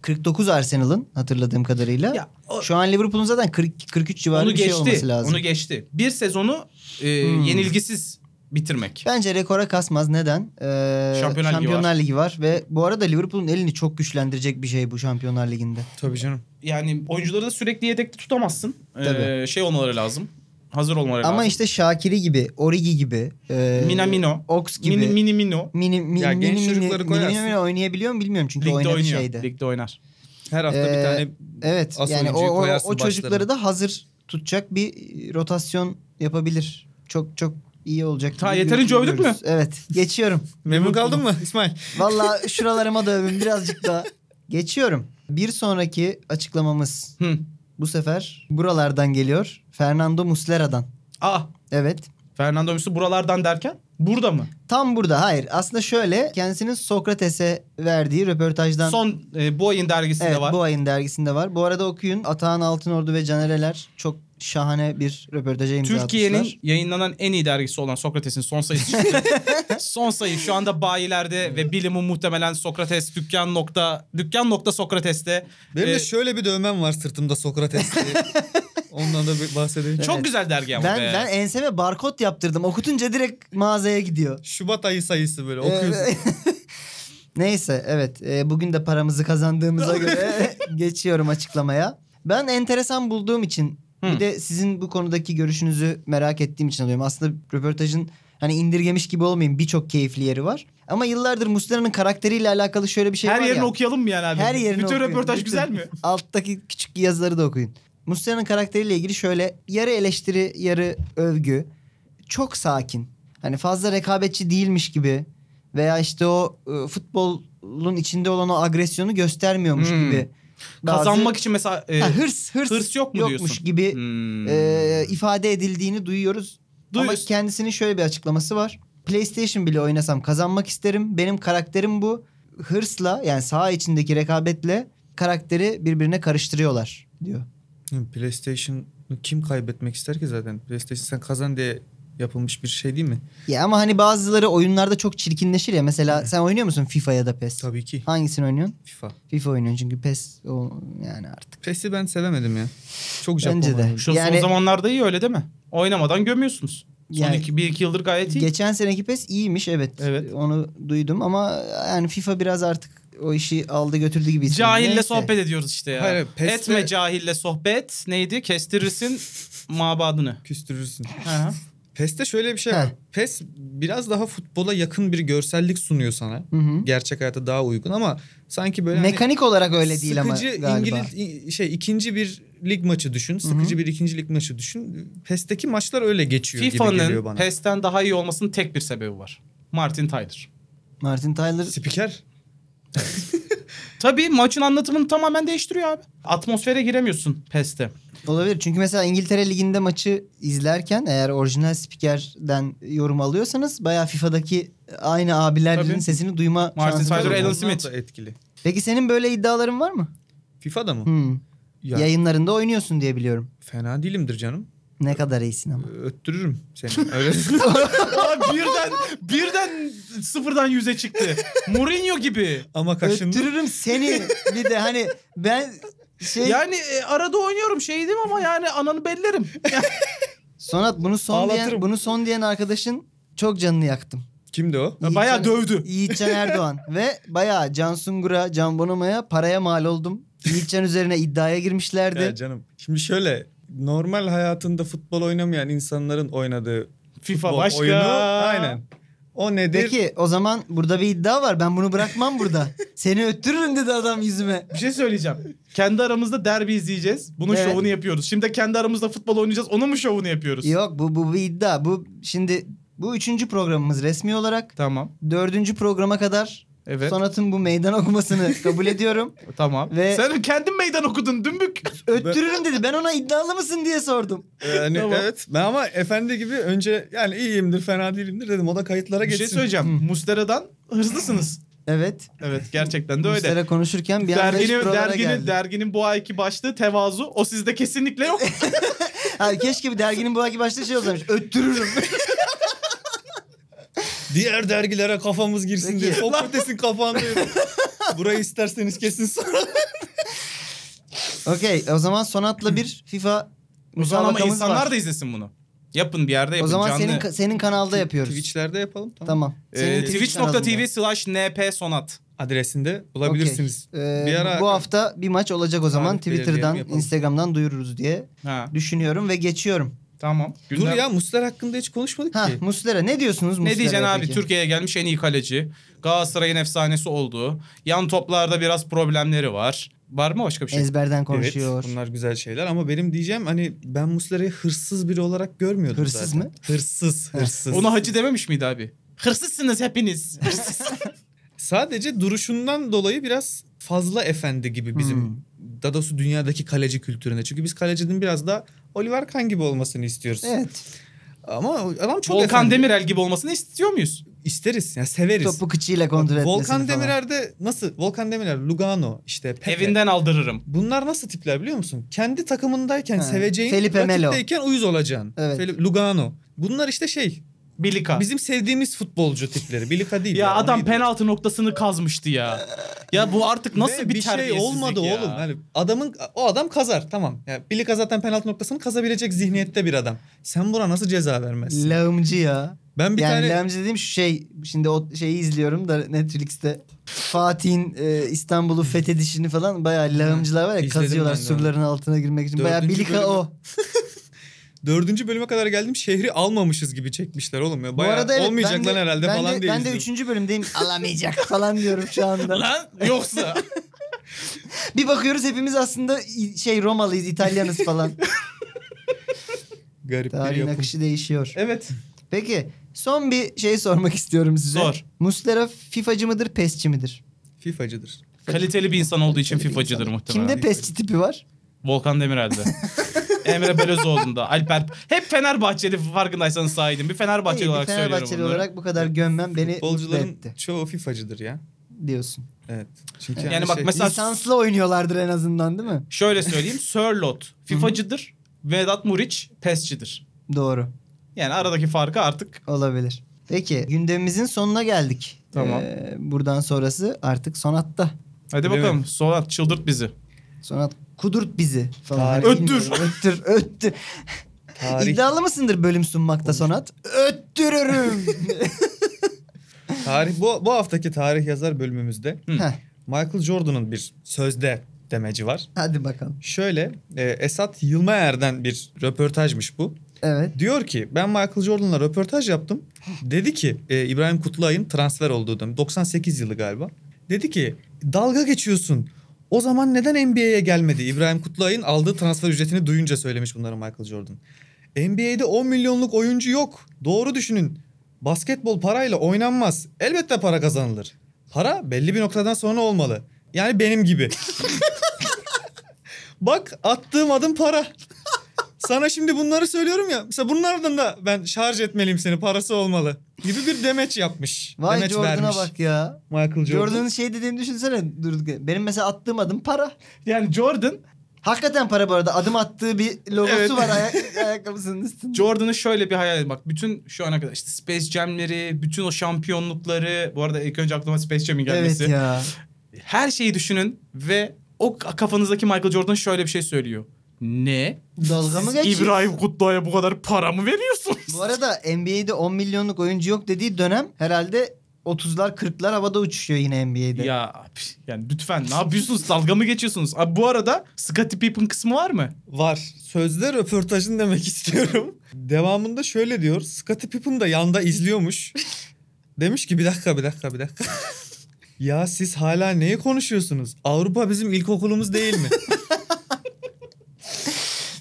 [SPEAKER 2] 49 Arsenal'ın hatırladığım kadarıyla.
[SPEAKER 5] Ya, o-
[SPEAKER 2] Şu an Liverpool'un zaten 40, 43 civarı
[SPEAKER 5] onu
[SPEAKER 2] bir şey
[SPEAKER 5] geçti.
[SPEAKER 2] olması lazım. Hmm.
[SPEAKER 5] onu geçti. Bir sezonu e, yenilgisiz bitirmek.
[SPEAKER 2] Bence rekora kasmaz. Neden? Ee,
[SPEAKER 5] Şampiyonlar Ligi
[SPEAKER 2] Ligi, var. Ve bu arada Liverpool'un elini çok güçlendirecek bir şey bu Şampiyonlar Ligi'nde.
[SPEAKER 4] Tabii canım.
[SPEAKER 5] Yani oyuncuları da sürekli yedekte tutamazsın. E,
[SPEAKER 2] Tabii.
[SPEAKER 5] şey olmaları lazım. Hazır olmaları
[SPEAKER 2] Ama
[SPEAKER 5] lazım.
[SPEAKER 2] işte Şakiri gibi, Origi gibi, e,
[SPEAKER 5] Minamino.
[SPEAKER 2] Ox gibi.
[SPEAKER 5] Mini mini mino.
[SPEAKER 2] Mini, mini,
[SPEAKER 4] Ya genç
[SPEAKER 2] mini, mini,
[SPEAKER 4] çocukları
[SPEAKER 2] mini,
[SPEAKER 4] koyarsın.
[SPEAKER 2] mini oynayabiliyor mu bilmiyorum çünkü
[SPEAKER 5] Ligde
[SPEAKER 2] oynadığı
[SPEAKER 5] oynuyor.
[SPEAKER 2] şeyde.
[SPEAKER 5] Ligde oynar.
[SPEAKER 4] Her hafta
[SPEAKER 2] Ee,
[SPEAKER 4] bir tane
[SPEAKER 2] Evet
[SPEAKER 4] Asıl
[SPEAKER 2] yani o,
[SPEAKER 4] oyuncuyu
[SPEAKER 2] o,
[SPEAKER 4] koyarsın
[SPEAKER 2] o çocukları
[SPEAKER 4] başlarına.
[SPEAKER 2] da hazır tutacak bir e, rotasyon yapabilir. Çok çok iyi olacak.
[SPEAKER 5] Ta,
[SPEAKER 2] gibi
[SPEAKER 5] yeterince övdük
[SPEAKER 2] görüyoruz. Evet geçiyorum.
[SPEAKER 4] memnun
[SPEAKER 5] *laughs*
[SPEAKER 4] kaldın mı İsmail?
[SPEAKER 2] Valla şuralarıma da övün birazcık daha. Geçiyorum. Bir sonraki açıklamamız
[SPEAKER 5] Hı.
[SPEAKER 2] bu sefer buralardan geliyor. Fernando Muslera'dan.
[SPEAKER 5] Ah
[SPEAKER 2] Evet.
[SPEAKER 5] Fernando Müsü buralardan derken burada mı?
[SPEAKER 2] Tam burada hayır. Aslında şöyle kendisinin Sokrates'e verdiği röportajdan
[SPEAKER 5] Son e, bu ayın dergisinde
[SPEAKER 2] Evet
[SPEAKER 5] var.
[SPEAKER 2] bu ayın dergisinde var. Bu arada okuyun. Atahan Altınordu ve Canereler çok şahane bir röportaja imza
[SPEAKER 5] Türkiye'nin
[SPEAKER 2] atmışlar.
[SPEAKER 5] yayınlanan en iyi dergisi olan Sokrates'in son sayısı çıktı.
[SPEAKER 2] *laughs*
[SPEAKER 5] son sayı şu anda bayilerde ve bilimu muhtemelen Sokrates dükkan nokta dükkan nokta Sokrates'te.
[SPEAKER 4] Benim
[SPEAKER 5] Ee,
[SPEAKER 4] de şöyle bir dövmem var sırtımda Sokrates diye.
[SPEAKER 2] *laughs*
[SPEAKER 4] Ondan da bir bahsedeyim.
[SPEAKER 5] Çok
[SPEAKER 2] Evet.
[SPEAKER 5] güzel dergi ama
[SPEAKER 2] Ben,
[SPEAKER 5] be.
[SPEAKER 2] ben enseme barkod yaptırdım. Okutunca direkt mağazaya gidiyor.
[SPEAKER 4] Şubat ayı sayısı böyle okuyorsun.
[SPEAKER 2] Ee, *laughs* Neyse evet e, bugün de paramızı
[SPEAKER 5] *laughs*
[SPEAKER 2] kazandığımıza göre geçiyorum açıklamaya. Ben enteresan bulduğum için bir
[SPEAKER 5] Hı.
[SPEAKER 2] de sizin bu konudaki görüşünüzü merak ettiğim için alıyorum. Aslında röportajın hani indirgemiş gibi olmayayım birçok keyifli yeri var. Ama yıllardır Muslera'nın karakteriyle alakalı şöyle bir şey
[SPEAKER 5] Her
[SPEAKER 2] var ya.
[SPEAKER 5] yerini okuyalım mı yani abi?
[SPEAKER 2] Her yerini
[SPEAKER 5] Bütün
[SPEAKER 2] okuyun.
[SPEAKER 5] röportaj
[SPEAKER 2] Bütün.
[SPEAKER 5] güzel mi?
[SPEAKER 2] Alttaki küçük yazıları da okuyun. Muslera'nın karakteriyle ilgili şöyle yarı eleştiri yarı övgü. Çok sakin. Hani fazla rekabetçi değilmiş gibi. Veya işte o e, futbolun içinde olan o agresyonu göstermiyormuş
[SPEAKER 5] Hmm.
[SPEAKER 2] gibi.
[SPEAKER 5] Kazanmak için mesela e,
[SPEAKER 2] Bazı- Ha, hırs, hırs,
[SPEAKER 5] hırs yok mu
[SPEAKER 2] yokmuş
[SPEAKER 5] diyorsun?
[SPEAKER 2] gibi
[SPEAKER 5] hmm.
[SPEAKER 2] e, ifade edildiğini duyuyoruz. Ama
[SPEAKER 5] Duyuyorsun.
[SPEAKER 2] kendisinin şöyle bir açıklaması var. PlayStation bile oynasam kazanmak isterim. Benim karakterim bu. Hırsla yani saha içindeki rekabetle karakteri birbirine karıştırıyorlar diyor.
[SPEAKER 4] PlayStation'ı kim kaybetmek ister ki zaten? PlayStation sen kazan diye yapılmış bir şey değil mi?
[SPEAKER 2] Ya ama hani bazıları oyunlarda çok çirkinleşir ya. Mesela sen oynuyor musun FIFA ya da PES?
[SPEAKER 4] Tabii ki.
[SPEAKER 2] Hangisini oynuyorsun?
[SPEAKER 4] FIFA.
[SPEAKER 2] FIFA oynuyorsun çünkü PES o yani artık.
[SPEAKER 4] PES'i ben sevemedim ya. Çok Japon.
[SPEAKER 2] Bence de.
[SPEAKER 4] oyunu.
[SPEAKER 5] Şu
[SPEAKER 2] Yani-
[SPEAKER 5] son zamanlarda iyi öyle değil mi? Oynamadan gömüyorsunuz. Son
[SPEAKER 2] Yani-
[SPEAKER 5] iki, bir iki yıldır gayet iyi.
[SPEAKER 2] Geçen seneki PES iyiymiş evet.
[SPEAKER 5] Evet.
[SPEAKER 2] Onu duydum ama yani FIFA biraz artık o işi aldı götürdü gibi. hissediyorum.
[SPEAKER 5] Cahille
[SPEAKER 2] Neyse.
[SPEAKER 5] sohbet ediyoruz işte ya.
[SPEAKER 4] Hayır, hayır, peste-
[SPEAKER 5] Etme cahille sohbet. Neydi?
[SPEAKER 4] *laughs*
[SPEAKER 5] Kestirirsin mabadını.
[SPEAKER 4] Küstürürsün.
[SPEAKER 5] Hı hı.
[SPEAKER 4] PES'te şöyle bir şey
[SPEAKER 2] Heh.
[SPEAKER 4] var. PES biraz daha futbola yakın bir görsellik sunuyor sana.
[SPEAKER 2] Hı hı.
[SPEAKER 4] Gerçek hayata daha uygun ama sanki böyle hani-
[SPEAKER 2] Mekanik olarak öyle değil ama
[SPEAKER 4] Sıkıcı
[SPEAKER 2] galiba.
[SPEAKER 4] İngiliz i- şey ikinci bir lig maçı düşün. Sıkıcı bir ikinci lig maçı düşün. PES'teki maçlar öyle geçiyor gibi geliyor
[SPEAKER 5] FIFA'nın
[SPEAKER 4] bana.
[SPEAKER 5] PES'ten daha iyi olmasının tek bir sebebi var. Martin Tyler.
[SPEAKER 2] Martin Tyler
[SPEAKER 4] Spiker.
[SPEAKER 5] Tabii maçın anlatımını tamamen değiştiriyor abi. Atmosfere giremiyorsun PES'te.
[SPEAKER 2] olabilir. Çünkü mesela İngiltere Ligi'nde maçı izlerken eğer orijinal spikerden yorum alıyorsanız bayağı FIFA'daki aynı abilerin
[SPEAKER 5] Tabii.
[SPEAKER 2] sesini duyma
[SPEAKER 5] Martin
[SPEAKER 2] şansınız
[SPEAKER 5] Tyler,
[SPEAKER 2] oluyor.
[SPEAKER 5] Alan
[SPEAKER 4] Onlar
[SPEAKER 5] Smith.
[SPEAKER 4] da etkili.
[SPEAKER 2] Peki senin böyle iddiaların var mı?
[SPEAKER 4] FIFA'da mı?
[SPEAKER 2] Hmm.
[SPEAKER 4] Ya,
[SPEAKER 2] Yayınlarında oynuyorsun diye biliyorum.
[SPEAKER 4] fena değilimdir canım.
[SPEAKER 2] Ne kadar iyisin ama.
[SPEAKER 4] Öttürürüm
[SPEAKER 2] *laughs*
[SPEAKER 4] seni. Öyle.
[SPEAKER 5] Abi birden birden sıfırdan yüze
[SPEAKER 4] *laughs*
[SPEAKER 5] çıktı. Mourinho gibi.
[SPEAKER 4] Ama kaşındım.
[SPEAKER 2] Öttürürüm seni. Bir de hani ben şey
[SPEAKER 5] Yani e, arada oynuyorum şeydim ama yani ananı bellerim.
[SPEAKER 2] Sonat bunu son diyen
[SPEAKER 4] Ağlatırım.
[SPEAKER 2] bunu son diyen arkadaşın çok canını yaktım.
[SPEAKER 4] Kimdi o?
[SPEAKER 5] Ya Bayağı
[SPEAKER 2] Yiğitcan-
[SPEAKER 5] dövdü.
[SPEAKER 2] Yiğitcan Erdoğan ve bayağı Can Sungur'a, Can Bonomo'ya paraya mal oldum. Yiğitcan üzerine iddiaya girmişlerdi.
[SPEAKER 4] Ya canım. Şimdi şöyle normal hayatında futbol oynamayan insanların oynadığı
[SPEAKER 5] FIFA
[SPEAKER 4] futbol
[SPEAKER 5] başka.
[SPEAKER 4] oyunu. Aynen. O nedir?
[SPEAKER 2] Peki o zaman burada bir iddia var. Ben bunu bırakmam burada. Seni öttürürüm dedi adam yüzüme.
[SPEAKER 5] Bir şey söyleyeceğim. Kendi aramızda derbi izleyeceğiz. Bunun
[SPEAKER 2] Evet.
[SPEAKER 5] şovunu yapıyoruz. Şimdi kendi aramızda futbol oynayacağız. Onun mu şovunu yapıyoruz?
[SPEAKER 2] Yok bu, bu bir iddia. Bu şimdi bu üçüncü programımız resmi olarak.
[SPEAKER 5] Tamam.
[SPEAKER 2] Dördüncü programa kadar
[SPEAKER 5] Evet.
[SPEAKER 2] Sonat'ın bu meydan okumasını kabul
[SPEAKER 5] *laughs*
[SPEAKER 2] ediyorum.
[SPEAKER 5] Tamam.
[SPEAKER 2] Ve-
[SPEAKER 5] Sen kendin meydan
[SPEAKER 2] *laughs*
[SPEAKER 5] okudun dümbük.
[SPEAKER 2] Öttürürüm dedi. Ben ona iddialı mısın diye sordum.
[SPEAKER 5] Tamam.
[SPEAKER 4] Yani Ee, hani, evet. Ben ama efendi gibi önce yani iyiyimdir, fena değilimdir dedim. O da kayıtlara
[SPEAKER 5] Bir şey
[SPEAKER 4] geçsin.
[SPEAKER 5] söyleyeceğim. Muslera'dan hızlısınız.
[SPEAKER 2] Evet.
[SPEAKER 5] Evet gerçekten de öyle.
[SPEAKER 2] Muslera konuşurken bir anda iş
[SPEAKER 5] Derginin,
[SPEAKER 2] buralara
[SPEAKER 5] derginin,
[SPEAKER 2] geldi.
[SPEAKER 5] derginin bu ayki başlığı tevazu. O sizde
[SPEAKER 2] *laughs*
[SPEAKER 5] kesinlikle yok.
[SPEAKER 2] Ha, keşke bir derginin bu ayki başta şey olsaymış. Öttürürüm.
[SPEAKER 4] Diğer dergilere kafamız girsin
[SPEAKER 2] Peki.
[SPEAKER 4] diye. Sokrates'in
[SPEAKER 2] *laughs*
[SPEAKER 4] kafanda yok. Burayı isterseniz kesin sonra.
[SPEAKER 2] Okey o zaman Sonat'la bir FIFA
[SPEAKER 5] Ama
[SPEAKER 2] müsabakamız
[SPEAKER 5] insanlar
[SPEAKER 2] var.
[SPEAKER 5] da izlesin bunu. Yapın bir yerde yapın.
[SPEAKER 2] O zaman
[SPEAKER 5] canlı.
[SPEAKER 2] senin ka- senin kanalda yapıyoruz.
[SPEAKER 4] Twitch'lerde yapalım tamam.
[SPEAKER 2] Tamam. Senin
[SPEAKER 5] Ee,
[SPEAKER 2] kanalında.
[SPEAKER 5] Twitch.tv slash np sonat.
[SPEAKER 4] Adresinde bulabilirsiniz.
[SPEAKER 2] Okey. Ee,
[SPEAKER 4] Bir ara-
[SPEAKER 2] bu hafta bir maç olacak o zaman
[SPEAKER 4] Tarih belirleyelim,
[SPEAKER 2] Twitter'dan,
[SPEAKER 4] yapalım.
[SPEAKER 2] Instagram'dan duyururuz diye
[SPEAKER 5] Ha
[SPEAKER 2] düşünüyorum ve geçiyorum.
[SPEAKER 5] tamam.
[SPEAKER 4] Dur
[SPEAKER 5] Gündem-
[SPEAKER 4] ya Muslera hakkında hiç konuşmadık
[SPEAKER 2] Ha
[SPEAKER 4] ki.
[SPEAKER 2] Muslera ne diyorsunuz Muslera'ya
[SPEAKER 5] Ne diyeceksin abi?
[SPEAKER 2] peki?
[SPEAKER 5] Türkiye'ye gelmiş şey en iyi kaleci. Galatasaray'ın efsanesi olduğu. Yan toplarda biraz problemleri var. Var mı başka bir şey?
[SPEAKER 2] ezberden konuşuyor.
[SPEAKER 4] Evet, bunlar güzel şeyler ama benim diyeceğim hani ben Muslera'yı hırsız biri olarak görmüyordum
[SPEAKER 2] Hırsız
[SPEAKER 4] zaten.
[SPEAKER 2] mı?
[SPEAKER 4] Hırsız, hırsız.
[SPEAKER 5] Ona hacı dememiş miydi abi? Hırsızsınız hepiniz. *laughs*
[SPEAKER 4] Sadece duruşundan dolayı biraz fazla efendi gibi bizim
[SPEAKER 2] Hmm.
[SPEAKER 4] dadosu dünyadaki kaleci kültüründe. Çünkü biz kalecinin biraz daha Oliver Kahn gibi olmasını istiyoruz.
[SPEAKER 2] Evet.
[SPEAKER 4] Ama adam çok
[SPEAKER 5] Volkan
[SPEAKER 4] efendi.
[SPEAKER 5] Demirel gibi olmasını istiyor muyuz?
[SPEAKER 4] isteriz. Yani severiz.
[SPEAKER 2] Topu kıçıyla kontrol etmesini
[SPEAKER 4] Volkan
[SPEAKER 2] falan.
[SPEAKER 4] Demirel de nasıl? Volkan Demirel, Lugano, işte Pepe.
[SPEAKER 5] Evinden aldırırım.
[SPEAKER 4] Bunlar nasıl tipler biliyor musun? Kendi takımındayken
[SPEAKER 2] Ha,
[SPEAKER 4] seveceğin,
[SPEAKER 2] Felipe Melo.
[SPEAKER 4] rakipteyken uyuz olacaksın.
[SPEAKER 2] Evet.
[SPEAKER 4] Fel- Lugano. Bunlar işte şey,
[SPEAKER 5] Bilika.
[SPEAKER 4] bizim sevdiğimiz futbolcu tipleri. Bilika değil.
[SPEAKER 5] ya
[SPEAKER 4] o
[SPEAKER 5] adam
[SPEAKER 4] neydi?
[SPEAKER 5] penaltı noktasını kazmıştı ya. Ya bu artık nasıl
[SPEAKER 4] Ve
[SPEAKER 5] bir,
[SPEAKER 4] bir şey
[SPEAKER 5] terbiyesizlik
[SPEAKER 4] olmadı
[SPEAKER 5] ya?
[SPEAKER 4] oğlum. Hani adamın o adam kazar tamam. Ya Bilika zaten penaltı noktasını kazabilecek zihniyette bir adam. Sen buna nasıl ceza vermezsin?
[SPEAKER 2] Lağımcı ya.
[SPEAKER 4] ben bir
[SPEAKER 2] yani
[SPEAKER 4] tane
[SPEAKER 2] lağımcı dediğim şu şey. Şimdi o şeyi izliyorum da Netflix'te. Fatih'in e, İstanbul'u fethedişini falan bayağı lağımcılar var ya
[SPEAKER 4] İzledim
[SPEAKER 2] kazıyorlar
[SPEAKER 4] ben de onu.
[SPEAKER 2] surların altına girmek için. Bayağı
[SPEAKER 4] Dördüncü
[SPEAKER 2] bilika
[SPEAKER 4] bölümü-
[SPEAKER 2] o.
[SPEAKER 4] dördüncü bölüme kadar geldim şehri almamışız gibi çekmişler oğlum ya.
[SPEAKER 2] Bu
[SPEAKER 4] Bayağı
[SPEAKER 2] arada evet,
[SPEAKER 4] olmayacak
[SPEAKER 2] ben de-
[SPEAKER 4] lan herhalde
[SPEAKER 2] ben
[SPEAKER 4] falan
[SPEAKER 2] de,
[SPEAKER 4] diye
[SPEAKER 2] Ben de
[SPEAKER 4] izliyorum.
[SPEAKER 2] üçüncü
[SPEAKER 4] *laughs*
[SPEAKER 2] bölümdeyim. Alamayacak falan diyorum şu anda.
[SPEAKER 5] Lan
[SPEAKER 2] *laughs*
[SPEAKER 5] yoksa.
[SPEAKER 2] Bir bakıyoruz hepimiz aslında i- şey Romalıyız, İtalyanız
[SPEAKER 4] *laughs*
[SPEAKER 2] falan.
[SPEAKER 4] Garip bir
[SPEAKER 2] Tarihin
[SPEAKER 4] yapım.
[SPEAKER 2] akışı değişiyor.
[SPEAKER 4] *laughs*
[SPEAKER 5] evet.
[SPEAKER 2] Peki son bir şey sormak istiyorum size.
[SPEAKER 5] Sor.
[SPEAKER 2] Muslera FIFA'cı mıdır, PES'çi midir?
[SPEAKER 4] FIFA'cıdır.
[SPEAKER 5] Kaliteli bir insan olduğu için FIFA'cıdır muhtemelen.
[SPEAKER 2] Kimde PES'çi tipi var?
[SPEAKER 5] Volkan Demirel'de. Emre Belözoğlu'nda. Alper. Hep Fenerbahçeli farkındaysanız sahibim. Bir Fenerbahçeli
[SPEAKER 2] İyi, bir
[SPEAKER 5] olarak
[SPEAKER 2] Fenerbahçeli
[SPEAKER 5] söylüyorum bunları.
[SPEAKER 2] olarak bu kadar gömmem beni mutlu
[SPEAKER 4] Futbolcuların
[SPEAKER 2] etti
[SPEAKER 4] çoğu FIFA'cıdır ya. Evet.
[SPEAKER 2] diyorsun.
[SPEAKER 4] Çünkü
[SPEAKER 5] Yani bak mesela-
[SPEAKER 2] Lisanslı oynuyorlardır en azından değil mi?
[SPEAKER 5] Şöyle söyleyeyim. Sörlot FIFA'cıdır. Vedat Muriç PES'çidir.
[SPEAKER 2] Doğru.
[SPEAKER 5] Yani aradaki farkı artık
[SPEAKER 2] Olabilir. Peki gündemimizin sonuna geldik.
[SPEAKER 5] Tamam.
[SPEAKER 2] Ee, buradan sonrası artık sonatta.
[SPEAKER 5] hadi
[SPEAKER 4] Bilemedim.
[SPEAKER 5] bakalım Solat çıldırt bizi.
[SPEAKER 2] Sonat kudurt bizi falan.
[SPEAKER 4] Tarih.
[SPEAKER 2] Hani bilmiyorum.
[SPEAKER 5] Öttür.
[SPEAKER 2] *laughs* Öttür. Öttür.
[SPEAKER 4] tarih,
[SPEAKER 2] İddialı mısındır bölüm sunmakta Sonat?
[SPEAKER 5] *laughs*
[SPEAKER 2] Öttürürüm.
[SPEAKER 4] tarih bu, bu haftaki tarih yazar bölümümüzde
[SPEAKER 2] Heh,
[SPEAKER 4] Michael Jordan'ın bir sözde demeci var.
[SPEAKER 2] Hadi bakalım.
[SPEAKER 4] Şöyle e, Esat Yılmaer'den bir röportajmış bu.
[SPEAKER 2] Evet.
[SPEAKER 4] Diyor ki ben Michael Jordan'la röportaj yaptım. Dedi ki e, İbrahim Kutluay'ın transfer olduğu dönem 98 yılı galiba. Dedi ki dalga geçiyorsun. O zaman neden NBA'ye gelmedi? İbrahim Kutluay'ın aldığı transfer ücretini duyunca söylemiş bunları Michael Jordan. NBA'de 10 milyonluk oyuncu yok. Doğru düşünün. Basketbol parayla oynanmaz. Elbette para kazanılır. Para belli bir noktadan sonra olmalı. Yani benim gibi. *laughs* Bak attığım adım para. Sana şimdi bunları söylüyorum ya. Mesela bunlardan da ben şarj etmeliyim seni parası olmalı gibi bir demeç yapmış.
[SPEAKER 2] Vay
[SPEAKER 4] demeç
[SPEAKER 2] Jordan'a
[SPEAKER 4] vermiş.
[SPEAKER 2] bak ya.
[SPEAKER 4] Michael Jordan.
[SPEAKER 2] Jordan'ın şey dediğini düşünsene durduk. yere. Benim mesela attığım adım para.
[SPEAKER 5] Yani Jordan
[SPEAKER 2] Hakikaten para bu arada. Adım attığı bir logosu
[SPEAKER 5] Evet.
[SPEAKER 2] var ayak, *laughs* ayakkabısının üstünde.
[SPEAKER 5] Jordan'ın şöyle bir hayali bak bütün şu ana kadar işte Space Jam'leri, bütün o şampiyonlukları bu arada ilk önce aklıma Space Jam'in
[SPEAKER 2] Evet
[SPEAKER 5] gelmesi.
[SPEAKER 2] ya.
[SPEAKER 5] Her şeyi düşünün ve o kafanızdaki Michael Jordan şöyle bir şey söylüyor. Ne?
[SPEAKER 2] Dalga mı
[SPEAKER 5] Siz
[SPEAKER 2] geçiyor?
[SPEAKER 5] İbrahim Kutluay'a bu kadar para mı veriyorsunuz?
[SPEAKER 2] Bu arada NBA'de 10 milyonluk oyuncu yok dediği dönem herhalde 30'lar 40'lar havada uçuşuyor yine NBA'de.
[SPEAKER 5] *laughs* Ya abi, yani lütfen ne yapıyorsunuz? Dalga mı geçiyorsunuz? Abi bu arada Scottie Pippen kısmı var mı?
[SPEAKER 4] Var. Sözde röportajın demek *laughs* istiyorum. Devamında şöyle diyor. Scottie Pippen da
[SPEAKER 2] *laughs*
[SPEAKER 4] yanda izliyormuş. Demiş ki bir dakika bir dakika bir dakika. *laughs* ya siz hala neyi konuşuyorsunuz? Avrupa bizim ilkokulumuz değil
[SPEAKER 2] *laughs*
[SPEAKER 4] mi?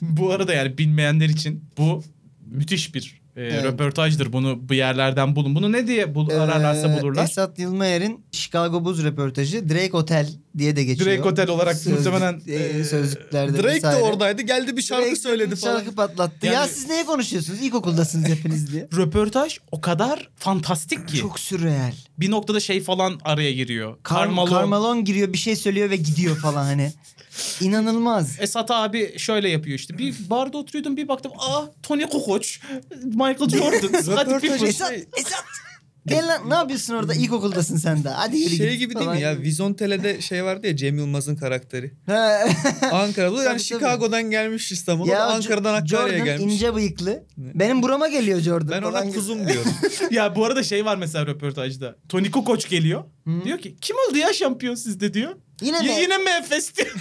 [SPEAKER 5] Bu arada yani bilmeyenler için bu müthiş bir Ee,
[SPEAKER 2] Evet.
[SPEAKER 5] Röportajdır bunu bir yerlerden bulun. Bunu ne diye bul- ararlarsa
[SPEAKER 2] Ee,
[SPEAKER 5] bulurlar.
[SPEAKER 2] Esat Yılmayer'in Chicago Buz röportajı Drake Otel diye de geçiyor.
[SPEAKER 5] Drake Otel olarak
[SPEAKER 2] Sözlük-
[SPEAKER 5] muhtemelen
[SPEAKER 2] e,
[SPEAKER 5] e,
[SPEAKER 2] sözlüklerde
[SPEAKER 4] Drake de
[SPEAKER 2] vesaire.
[SPEAKER 4] oradaydı geldi bir şarkı
[SPEAKER 2] Drake
[SPEAKER 4] söyledi falan.
[SPEAKER 2] Şarkı *laughs* patlattı.
[SPEAKER 5] Yani-
[SPEAKER 2] Ya siz neye konuşuyorsunuz? İlkokuldasınız hepiniz
[SPEAKER 5] *laughs*
[SPEAKER 2] diye.
[SPEAKER 5] röportaj o kadar fantastik ki.
[SPEAKER 2] Çok sürreal.
[SPEAKER 5] Bir noktada şey falan araya giriyor.
[SPEAKER 2] Kar-
[SPEAKER 5] Karmalon.
[SPEAKER 2] Karmalon. giriyor bir şey söylüyor ve gidiyor falan
[SPEAKER 4] *laughs*
[SPEAKER 2] hani. İnanılmaz.
[SPEAKER 5] Esat abi şöyle yapıyor işte. Bir barda oturuyordum bir baktım. Aa Tony Kukoc,
[SPEAKER 2] *laughs*
[SPEAKER 5] Michael Jordan. Hadi şey.
[SPEAKER 4] Röportaj
[SPEAKER 5] people.
[SPEAKER 2] Esat, Esat. Gel lan ne yapıyorsun orada? İlkokuldasın sen de. Hadi yürü
[SPEAKER 4] Şey
[SPEAKER 2] git
[SPEAKER 4] gibi değil
[SPEAKER 2] falan.
[SPEAKER 4] mi ya Vizontele'de şey vardı ya Cem Yılmaz'ın karakteri.
[SPEAKER 2] *laughs* Ha. *laughs*
[SPEAKER 4] Ankara'da
[SPEAKER 2] Tabii,
[SPEAKER 4] yani
[SPEAKER 2] tabii.
[SPEAKER 4] Chicago'dan gelmiş İstanbul'a da
[SPEAKER 2] Jo-
[SPEAKER 4] Ankara'dan Hakkari'ye
[SPEAKER 2] Jordan
[SPEAKER 4] gelmiş.
[SPEAKER 2] ince bıyıklı. Benim burama geliyor Jordan.
[SPEAKER 4] Ben
[SPEAKER 2] falan
[SPEAKER 4] ona
[SPEAKER 2] gibi. *laughs*
[SPEAKER 4] kuzum diyorum.
[SPEAKER 5] ya bu arada şey var mesela röportajda. Tony Kukoc geliyor. Diyor ki kim oldu ya şampiyon sizde diyor.
[SPEAKER 2] Yine
[SPEAKER 5] Y-
[SPEAKER 2] mi?
[SPEAKER 5] yine mi Efes diyor.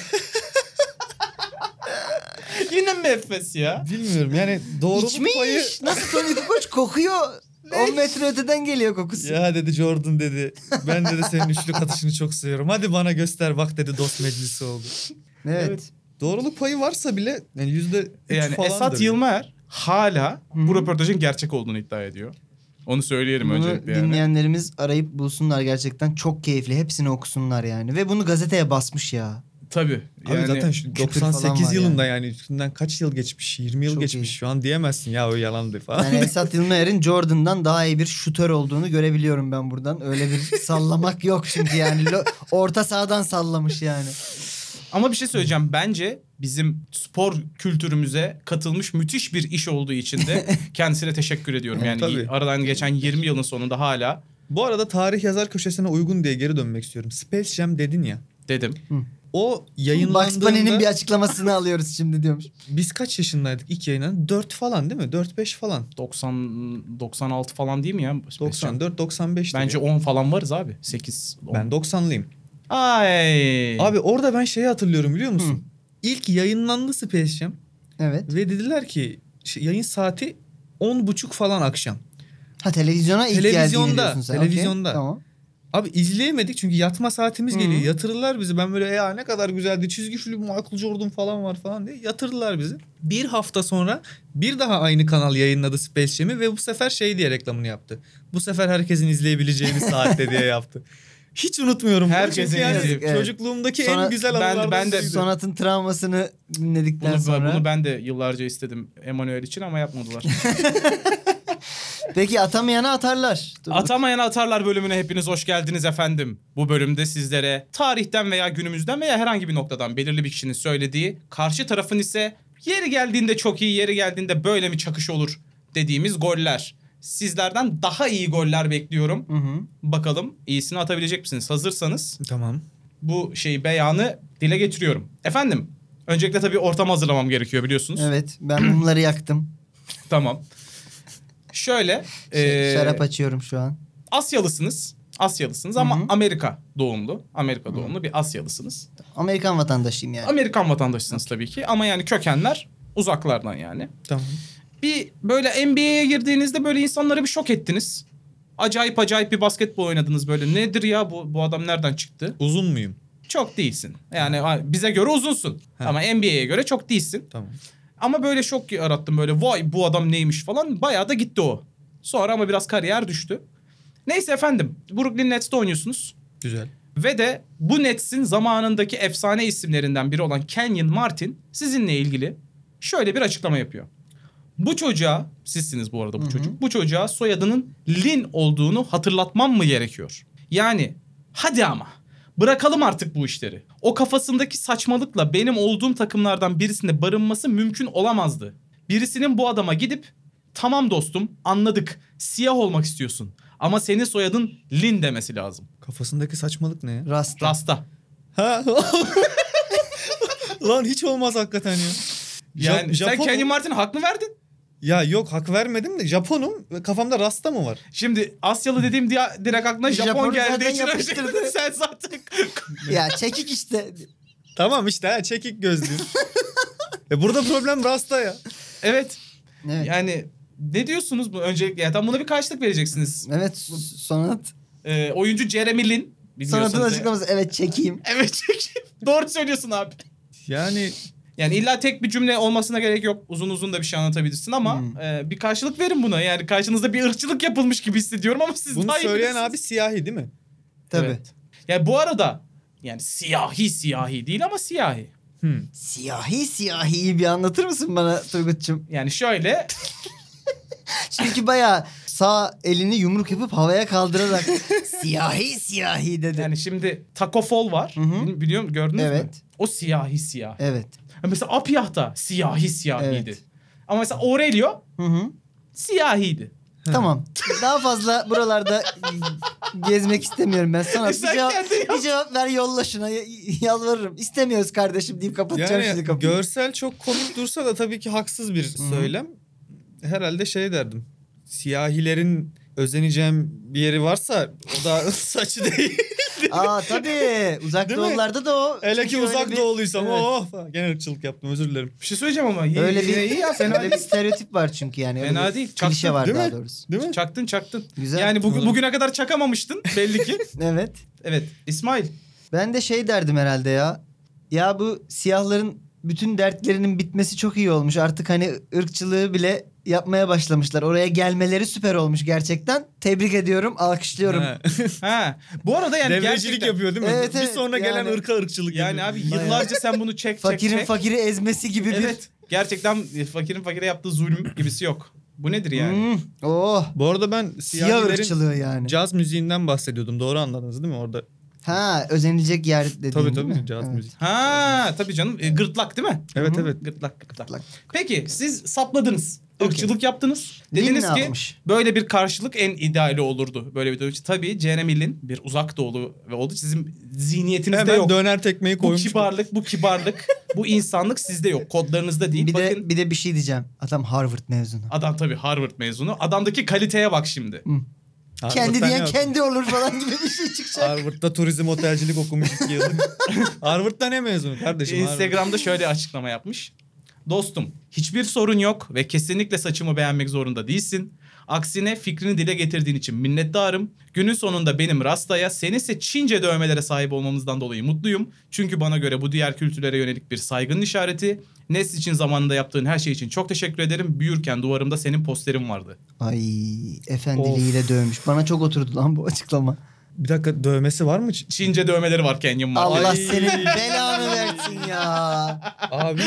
[SPEAKER 5] *laughs* yine mi Efes ya?
[SPEAKER 4] Bilmiyorum yani doğruluk
[SPEAKER 2] İçmiş.
[SPEAKER 4] payı.
[SPEAKER 2] Nasıl Tony Kukoc kokuyor. 10 metre öteden geliyor kokusu.
[SPEAKER 4] Ya dedi Jordan dedi. Ben dedi senin üçlük atışını çok seviyorum. Hadi bana göster bak dedi dost meclisi oldu.
[SPEAKER 2] Evet.
[SPEAKER 5] Evet.
[SPEAKER 4] Doğruluk payı varsa bile yani yüzde üç
[SPEAKER 5] Yani
[SPEAKER 4] falandır.
[SPEAKER 5] Esat Yılmer hala
[SPEAKER 2] Hı.
[SPEAKER 5] bu röportajın gerçek olduğunu iddia ediyor. Onu söyleyelim
[SPEAKER 2] Bunu
[SPEAKER 5] öncelikle yani.
[SPEAKER 2] dinleyenlerimiz arayıp bulsunlar gerçekten. Çok keyifli. Hepsini okusunlar yani. Ve bunu gazeteye basmış ya.
[SPEAKER 5] Tabii.
[SPEAKER 4] Abi
[SPEAKER 5] yani
[SPEAKER 4] zaten şu
[SPEAKER 2] kültür falan
[SPEAKER 4] 98
[SPEAKER 2] var
[SPEAKER 4] yılında yani. üstünden kaç yıl geçmiş? 20 yıl
[SPEAKER 2] Çok
[SPEAKER 4] geçmiş.
[SPEAKER 2] iyi.
[SPEAKER 4] Şu an diyemezsin ya o yalandı falan.
[SPEAKER 2] Yani Esat Yılmaz'ın Jordan'dan daha iyi bir şutör olduğunu görebiliyorum ben buradan. Öyle
[SPEAKER 5] *laughs*
[SPEAKER 2] bir sallamak yok çünkü yani. Lo- Orta sahadan sallamış yani.
[SPEAKER 5] Ama bir şey söyleyeceğim. Bence bizim spor kültürümüze katılmış müthiş bir iş olduğu için de
[SPEAKER 4] *laughs*
[SPEAKER 5] kendisine teşekkür ediyorum. Yani
[SPEAKER 4] Tabii.
[SPEAKER 5] aradan geçen 20 yılın sonunda hala
[SPEAKER 4] *laughs* Bu arada tarih yazar köşesine uygun diye geri dönmek istiyorum. Space Jam dedin ya.
[SPEAKER 5] dedim.
[SPEAKER 4] O
[SPEAKER 2] Bugs Bunny'nin
[SPEAKER 4] yayınlandığında
[SPEAKER 2] bir açıklamasını alıyoruz şimdi diyormuş.
[SPEAKER 4] biz kaç yaşındaydık ilk yayınlanan? 4 falan değil mi? 4-5 falan.
[SPEAKER 5] 90 96 falan değil mi ya?
[SPEAKER 4] 94-95
[SPEAKER 5] Bence 10 falan varız abi. 8 10.
[SPEAKER 4] Ben 90'lıyım.
[SPEAKER 5] Ay.
[SPEAKER 4] Abi orada ben şeyi hatırlıyorum biliyor musun? İlk yayınlandı Space Jam
[SPEAKER 2] Evet.
[SPEAKER 4] ve dediler ki şey, yayın saati 10.30 falan akşam.
[SPEAKER 2] Ha televizyona ilk
[SPEAKER 4] Televizyonda,
[SPEAKER 2] geldiğini diyorsun sen.
[SPEAKER 4] televizyonda.
[SPEAKER 2] Okey, Tamam.
[SPEAKER 4] Abi izleyemedik çünkü yatma saatimiz
[SPEAKER 2] Hı.
[SPEAKER 4] geliyor. Yatırırlar bizi. Ben böyle ya ne kadar güzeldi. Çizgi film Michael Jordan falan var falan diye yatırırlar bizi. Bir hafta sonra bir daha aynı kanal yayınladı Space Jam'i ve bu sefer şey diye reklamını yaptı. Bu sefer herkesin izleyebileceği bir
[SPEAKER 5] *laughs*
[SPEAKER 4] saatte diye yaptı. Hiç unutmuyorum. bunu
[SPEAKER 5] Herkesin
[SPEAKER 4] çünkü yani
[SPEAKER 5] izleyip-
[SPEAKER 2] evet.
[SPEAKER 4] Çocukluğumdaki
[SPEAKER 2] Sonra
[SPEAKER 4] en güzel
[SPEAKER 5] ben de-
[SPEAKER 4] anılardan
[SPEAKER 5] ben de-
[SPEAKER 4] biriydi.
[SPEAKER 2] Sonat'ın travmasını dinledikten
[SPEAKER 5] bunu,
[SPEAKER 2] sonra.
[SPEAKER 5] bunu ben de yıllarca istedim Emanuel için ama yapmadılar.
[SPEAKER 2] Peki atamayana atarlar. Dur.
[SPEAKER 5] Atamayan Atarlar bölümüne hepiniz hoş geldiniz efendim. Bu bölümde sizlere tarihten veya günümüzden veya herhangi bir noktadan belirli bir kişinin söylediği, karşı tarafın ise yeri geldiğinde çok iyi, yeri geldiğinde böyle mi çakış olur dediğimiz goller. Sizlerden daha iyi goller bekliyorum.
[SPEAKER 2] Hı hı.
[SPEAKER 5] Bakalım iyisini atabilecek misiniz? Hazırsanız
[SPEAKER 4] Tamam.
[SPEAKER 5] bu şeyi beyanı dile getiriyorum. Efendim, öncelikle tabii ortam hazırlamam gerekiyor biliyorsunuz.
[SPEAKER 2] Evet ben mumları yaktım.
[SPEAKER 5] Tamam. Şöyle,
[SPEAKER 2] Ş-
[SPEAKER 5] eee,
[SPEAKER 2] Şey, Şarap açıyorum şu an.
[SPEAKER 5] Asyalısınız. Asyalısınız ama
[SPEAKER 2] Hı hı.
[SPEAKER 5] Amerika doğumlu. Amerika doğumlu bir Asyalısınız.
[SPEAKER 2] Amerikan vatandaşıyım yani.
[SPEAKER 5] Amerikan vatandaşısınız tabii ki ama yani kökenler uzaklardan yani.
[SPEAKER 4] Tamam.
[SPEAKER 5] Bir böyle NBA'ye girdiğinizde böyle insanları bir şok ettiniz. Acayip acayip bir basketbol oynadınız böyle. Nedir ya bu bu adam nereden çıktı?
[SPEAKER 4] Uzun muyum?
[SPEAKER 5] Çok değilsin. Yani ha, bize göre uzunsun
[SPEAKER 4] Ha.
[SPEAKER 5] ama NBA'ye göre çok değilsin.
[SPEAKER 4] Tamam.
[SPEAKER 5] Ama böyle şok yarattım böyle vay bu adam neymiş falan. Bayağı da gitti o. Sonra ama biraz kariyer düştü. Neyse efendim Brooklyn Nets'te oynuyorsunuz.
[SPEAKER 4] Güzel.
[SPEAKER 5] Ve de bu Nets'in zamanındaki efsane isimlerinden biri olan Kenyon Martin sizinle ilgili şöyle bir açıklama yapıyor. Bu çocuğa, sizsiniz bu arada bu çocuk, bu çocuğa soyadının Lin olduğunu hatırlatmam mı gerekiyor? Yani hadi ama bırakalım artık bu işleri. O kafasındaki saçmalıkla benim olduğum takımlardan birisinde barınması mümkün olamazdı. Birisinin bu adama gidip tamam dostum anladık siyah olmak istiyorsun ama senin soyadın Lin demesi lazım.
[SPEAKER 4] Kafasındaki saçmalık ne ya?
[SPEAKER 2] Rasta.
[SPEAKER 5] Rasta.
[SPEAKER 4] Ha? *laughs* Lan hiç olmaz hakikaten ya.
[SPEAKER 5] Yani
[SPEAKER 4] Ja-
[SPEAKER 5] sen
[SPEAKER 4] Japon-
[SPEAKER 5] Kenny Martin hak mı verdin?
[SPEAKER 4] Ya yok hak vermedim de Japonum ve kafamda rasta mı var?
[SPEAKER 5] Şimdi Asyalı dediğim diye direkt aklına Japon,
[SPEAKER 2] Japon
[SPEAKER 5] geldi.
[SPEAKER 2] zaten
[SPEAKER 5] için öyle
[SPEAKER 2] yapıştırdı.
[SPEAKER 5] dedin. *laughs* sen zaten
[SPEAKER 2] Ya çekik işte.
[SPEAKER 4] Tamam işte ha çekik gözlüğüm. *laughs* e burada problem rasta ya.
[SPEAKER 5] evet.
[SPEAKER 2] Evet.
[SPEAKER 5] Yani ne diyorsunuz bu öncelikle? Yani tam buna bir karşılık vereceksiniz.
[SPEAKER 2] Evet s- sonat.
[SPEAKER 5] Ee, oyuncu Jeremy Lin.
[SPEAKER 2] Sonatın
[SPEAKER 5] Biliyorsunuz. *laughs*
[SPEAKER 2] açıklaması evet çekeyim.
[SPEAKER 5] Evet çünkü doğru söylüyorsun abi.
[SPEAKER 4] Yani
[SPEAKER 5] Yani illa tek bir cümle olmasına gerek yok. Uzun uzun da bir şey anlatabilirsin ama
[SPEAKER 2] Hmm.
[SPEAKER 5] e, bir karşılık verin buna. Yani karşınızda bir ırkçılık yapılmış gibi hissediyorum ama siz
[SPEAKER 4] Bunu
[SPEAKER 5] daha iyi
[SPEAKER 4] söyleyen
[SPEAKER 5] bilirsiniz.
[SPEAKER 4] abi siyahi değil mi?
[SPEAKER 2] Tabii.
[SPEAKER 5] Evet. Yani bu arada yani siyahi siyahi değil ama siyahi.
[SPEAKER 2] Siyahi siyahiyi bir anlatır mısın bana Turgut'cum?
[SPEAKER 5] Yani şöyle
[SPEAKER 2] Çünkü bayağı sağ elini yumruk yapıp havaya
[SPEAKER 4] *laughs*
[SPEAKER 2] kaldırarak siyahi siyahi dedi.
[SPEAKER 5] yani şimdi takofol var.
[SPEAKER 2] Hı hı.
[SPEAKER 5] Bili- Biliyor musun? Gördünüz mü?
[SPEAKER 2] Evet.
[SPEAKER 5] O siyahi siyahi.
[SPEAKER 2] Evet.
[SPEAKER 5] Mesela Apyah da siyahi siyahiydi.
[SPEAKER 2] Evet.
[SPEAKER 5] Ama mesela Aurelio
[SPEAKER 2] Hı hı.
[SPEAKER 5] siyahiydi.
[SPEAKER 2] Tamam. Daha fazla buralarda gezmek istemiyorum ben. Sana bir
[SPEAKER 5] Sen
[SPEAKER 2] cevap,
[SPEAKER 5] kendin yap.
[SPEAKER 2] bir cevap ver yolla şuna y- y- yalvarırım. İstemiyoruz kardeşim deyip kapatacağım
[SPEAKER 4] Yani
[SPEAKER 2] şimdi kapıyı.
[SPEAKER 4] görsel çok komik dursa da tabii ki haksız bir söylem. Herhalde şey derdim. Siyahilerin özeneceğim bir yeri varsa o da *laughs* saçı değil.
[SPEAKER 2] Aa tabii. Uzak
[SPEAKER 4] Değil mi?
[SPEAKER 2] doğularda da o.
[SPEAKER 4] Hele ki
[SPEAKER 2] çünkü öyle
[SPEAKER 4] uzak
[SPEAKER 2] bir-
[SPEAKER 4] doğuluysam.
[SPEAKER 2] Evet.
[SPEAKER 4] Oh falan. gene ırkçılık yaptım özür dilerim.
[SPEAKER 5] Bir şey söyleyeceğim ama iyi,
[SPEAKER 2] Öyle
[SPEAKER 5] öyle
[SPEAKER 2] bir,
[SPEAKER 5] iyi ya fena
[SPEAKER 2] öyle
[SPEAKER 5] değil.
[SPEAKER 2] bir stereotip var çünkü yani. Öyle
[SPEAKER 5] Fena
[SPEAKER 2] bir
[SPEAKER 5] değil.
[SPEAKER 2] Klişe
[SPEAKER 5] Çaktın,
[SPEAKER 2] var
[SPEAKER 4] değil
[SPEAKER 2] daha
[SPEAKER 4] mi?
[SPEAKER 2] doğrusu.
[SPEAKER 4] Değil mi?
[SPEAKER 5] Çaktın çaktın.
[SPEAKER 2] Güzel.
[SPEAKER 5] yani bugün,
[SPEAKER 2] Olur.
[SPEAKER 5] bugüne kadar çakamamıştın belli
[SPEAKER 2] *laughs*
[SPEAKER 5] ki.
[SPEAKER 2] Evet.
[SPEAKER 5] evet İsmail.
[SPEAKER 2] Ben de şey derdim herhalde ya. Ya bu siyahların bütün dertlerinin bitmesi çok iyi olmuş. Artık hani ırkçılığı bile yapmaya başlamışlar. Oraya gelmeleri süper olmuş gerçekten. Tebrik ediyorum, alkışlıyorum.
[SPEAKER 4] Ha.
[SPEAKER 5] Ha. Bu arada yani
[SPEAKER 4] Devrecilik
[SPEAKER 5] gerçekten-
[SPEAKER 4] yapıyor değil mi?
[SPEAKER 2] Evet,
[SPEAKER 4] bir
[SPEAKER 2] evet,
[SPEAKER 4] sonra gelen
[SPEAKER 2] yani-
[SPEAKER 4] ırka ırkçılık
[SPEAKER 5] Yani
[SPEAKER 4] yapıyor.
[SPEAKER 5] abi
[SPEAKER 2] Bayağı.
[SPEAKER 5] yıllarca sen bunu çek çek
[SPEAKER 2] Fakirin
[SPEAKER 5] çek.
[SPEAKER 2] fakiri ezmesi gibi
[SPEAKER 5] Evet. Gerçekten e, fakirin fakire yaptığı zulüm gibisi yok. Bu nedir
[SPEAKER 2] bir...
[SPEAKER 5] yani?
[SPEAKER 2] Hmm, Oh,
[SPEAKER 4] Bu arada ben
[SPEAKER 2] siyah
[SPEAKER 4] siyahilerin
[SPEAKER 2] ırkçılığı yani.
[SPEAKER 4] caz müziğinden bahsediyordum. Doğru anladınız değil mi orada?
[SPEAKER 2] ha, özenilecek yer dediğin
[SPEAKER 4] Tabii
[SPEAKER 2] değil
[SPEAKER 4] tabii
[SPEAKER 2] mi?
[SPEAKER 4] caz
[SPEAKER 2] Evet.
[SPEAKER 4] müziği.
[SPEAKER 5] Ha tabii canım. E, gırtlak değil mi?
[SPEAKER 4] Evet
[SPEAKER 2] Hı hı.
[SPEAKER 4] evet.
[SPEAKER 5] Gırtlak, gırtlak.
[SPEAKER 2] Gırtlak.
[SPEAKER 5] Peki siz sapladınız.
[SPEAKER 2] Okey.
[SPEAKER 5] Irkçılık yaptınız.
[SPEAKER 2] Lin
[SPEAKER 5] Dediniz
[SPEAKER 2] ne
[SPEAKER 5] ki
[SPEAKER 2] yapmış?
[SPEAKER 5] böyle bir karşılık en ideali olurdu. Böyle bir dönüş. Tabii Jeremy Lin bir uzak doğulu ve oldu. Sizin zihniyetinizde
[SPEAKER 4] Hemen
[SPEAKER 5] yok.
[SPEAKER 4] döner tekmeyi
[SPEAKER 5] Bu
[SPEAKER 4] koymuş.
[SPEAKER 5] kibarlık, bu kibarlık, bu insanlık sizde yok. Kodlarınızda değil.
[SPEAKER 2] Bir
[SPEAKER 5] Bakın
[SPEAKER 2] de bir de bir şey diyeceğim. Adam Harvard mezunu.
[SPEAKER 5] adam tabii Harvard mezunu. Adamdaki kaliteye bak şimdi.
[SPEAKER 4] Harvard'dan
[SPEAKER 2] kendi diyen
[SPEAKER 4] yok.
[SPEAKER 2] kendi olur falan gibi bir şey çıkacak.
[SPEAKER 4] Harvard'da turizm otelcilik okumuş iki yıllık. *laughs* Harvard'da ne mezunu kardeşim? Harvard.
[SPEAKER 5] Instagram'da şöyle açıklama yapmış. Dostum, hiçbir sorun yok ve kesinlikle saçımı beğenmek zorunda değilsin. Aksine fikrini dile getirdiğin için minnettarım. Günün sonunda benim Rasta'ya, senin ise Çince dövmelere sahip olmamızdan dolayı mutluyum. Çünkü bana göre bu diğer kültürlere yönelik bir saygının işareti. Nes için zamanında yaptığın her şey için çok teşekkür ederim. Büyürken duvarımda senin posterin vardı.
[SPEAKER 2] *laughs* Ay, efendiliğiyle dövmüş. Bana çok oturdu lan bu açıklama.
[SPEAKER 4] Bir dakika dövmesi var mı? Ç-
[SPEAKER 5] Çince dövmeleri var Kenyon Mark'ta.
[SPEAKER 2] Allah
[SPEAKER 4] Ay.
[SPEAKER 2] senin belanı versin ya.
[SPEAKER 4] Abi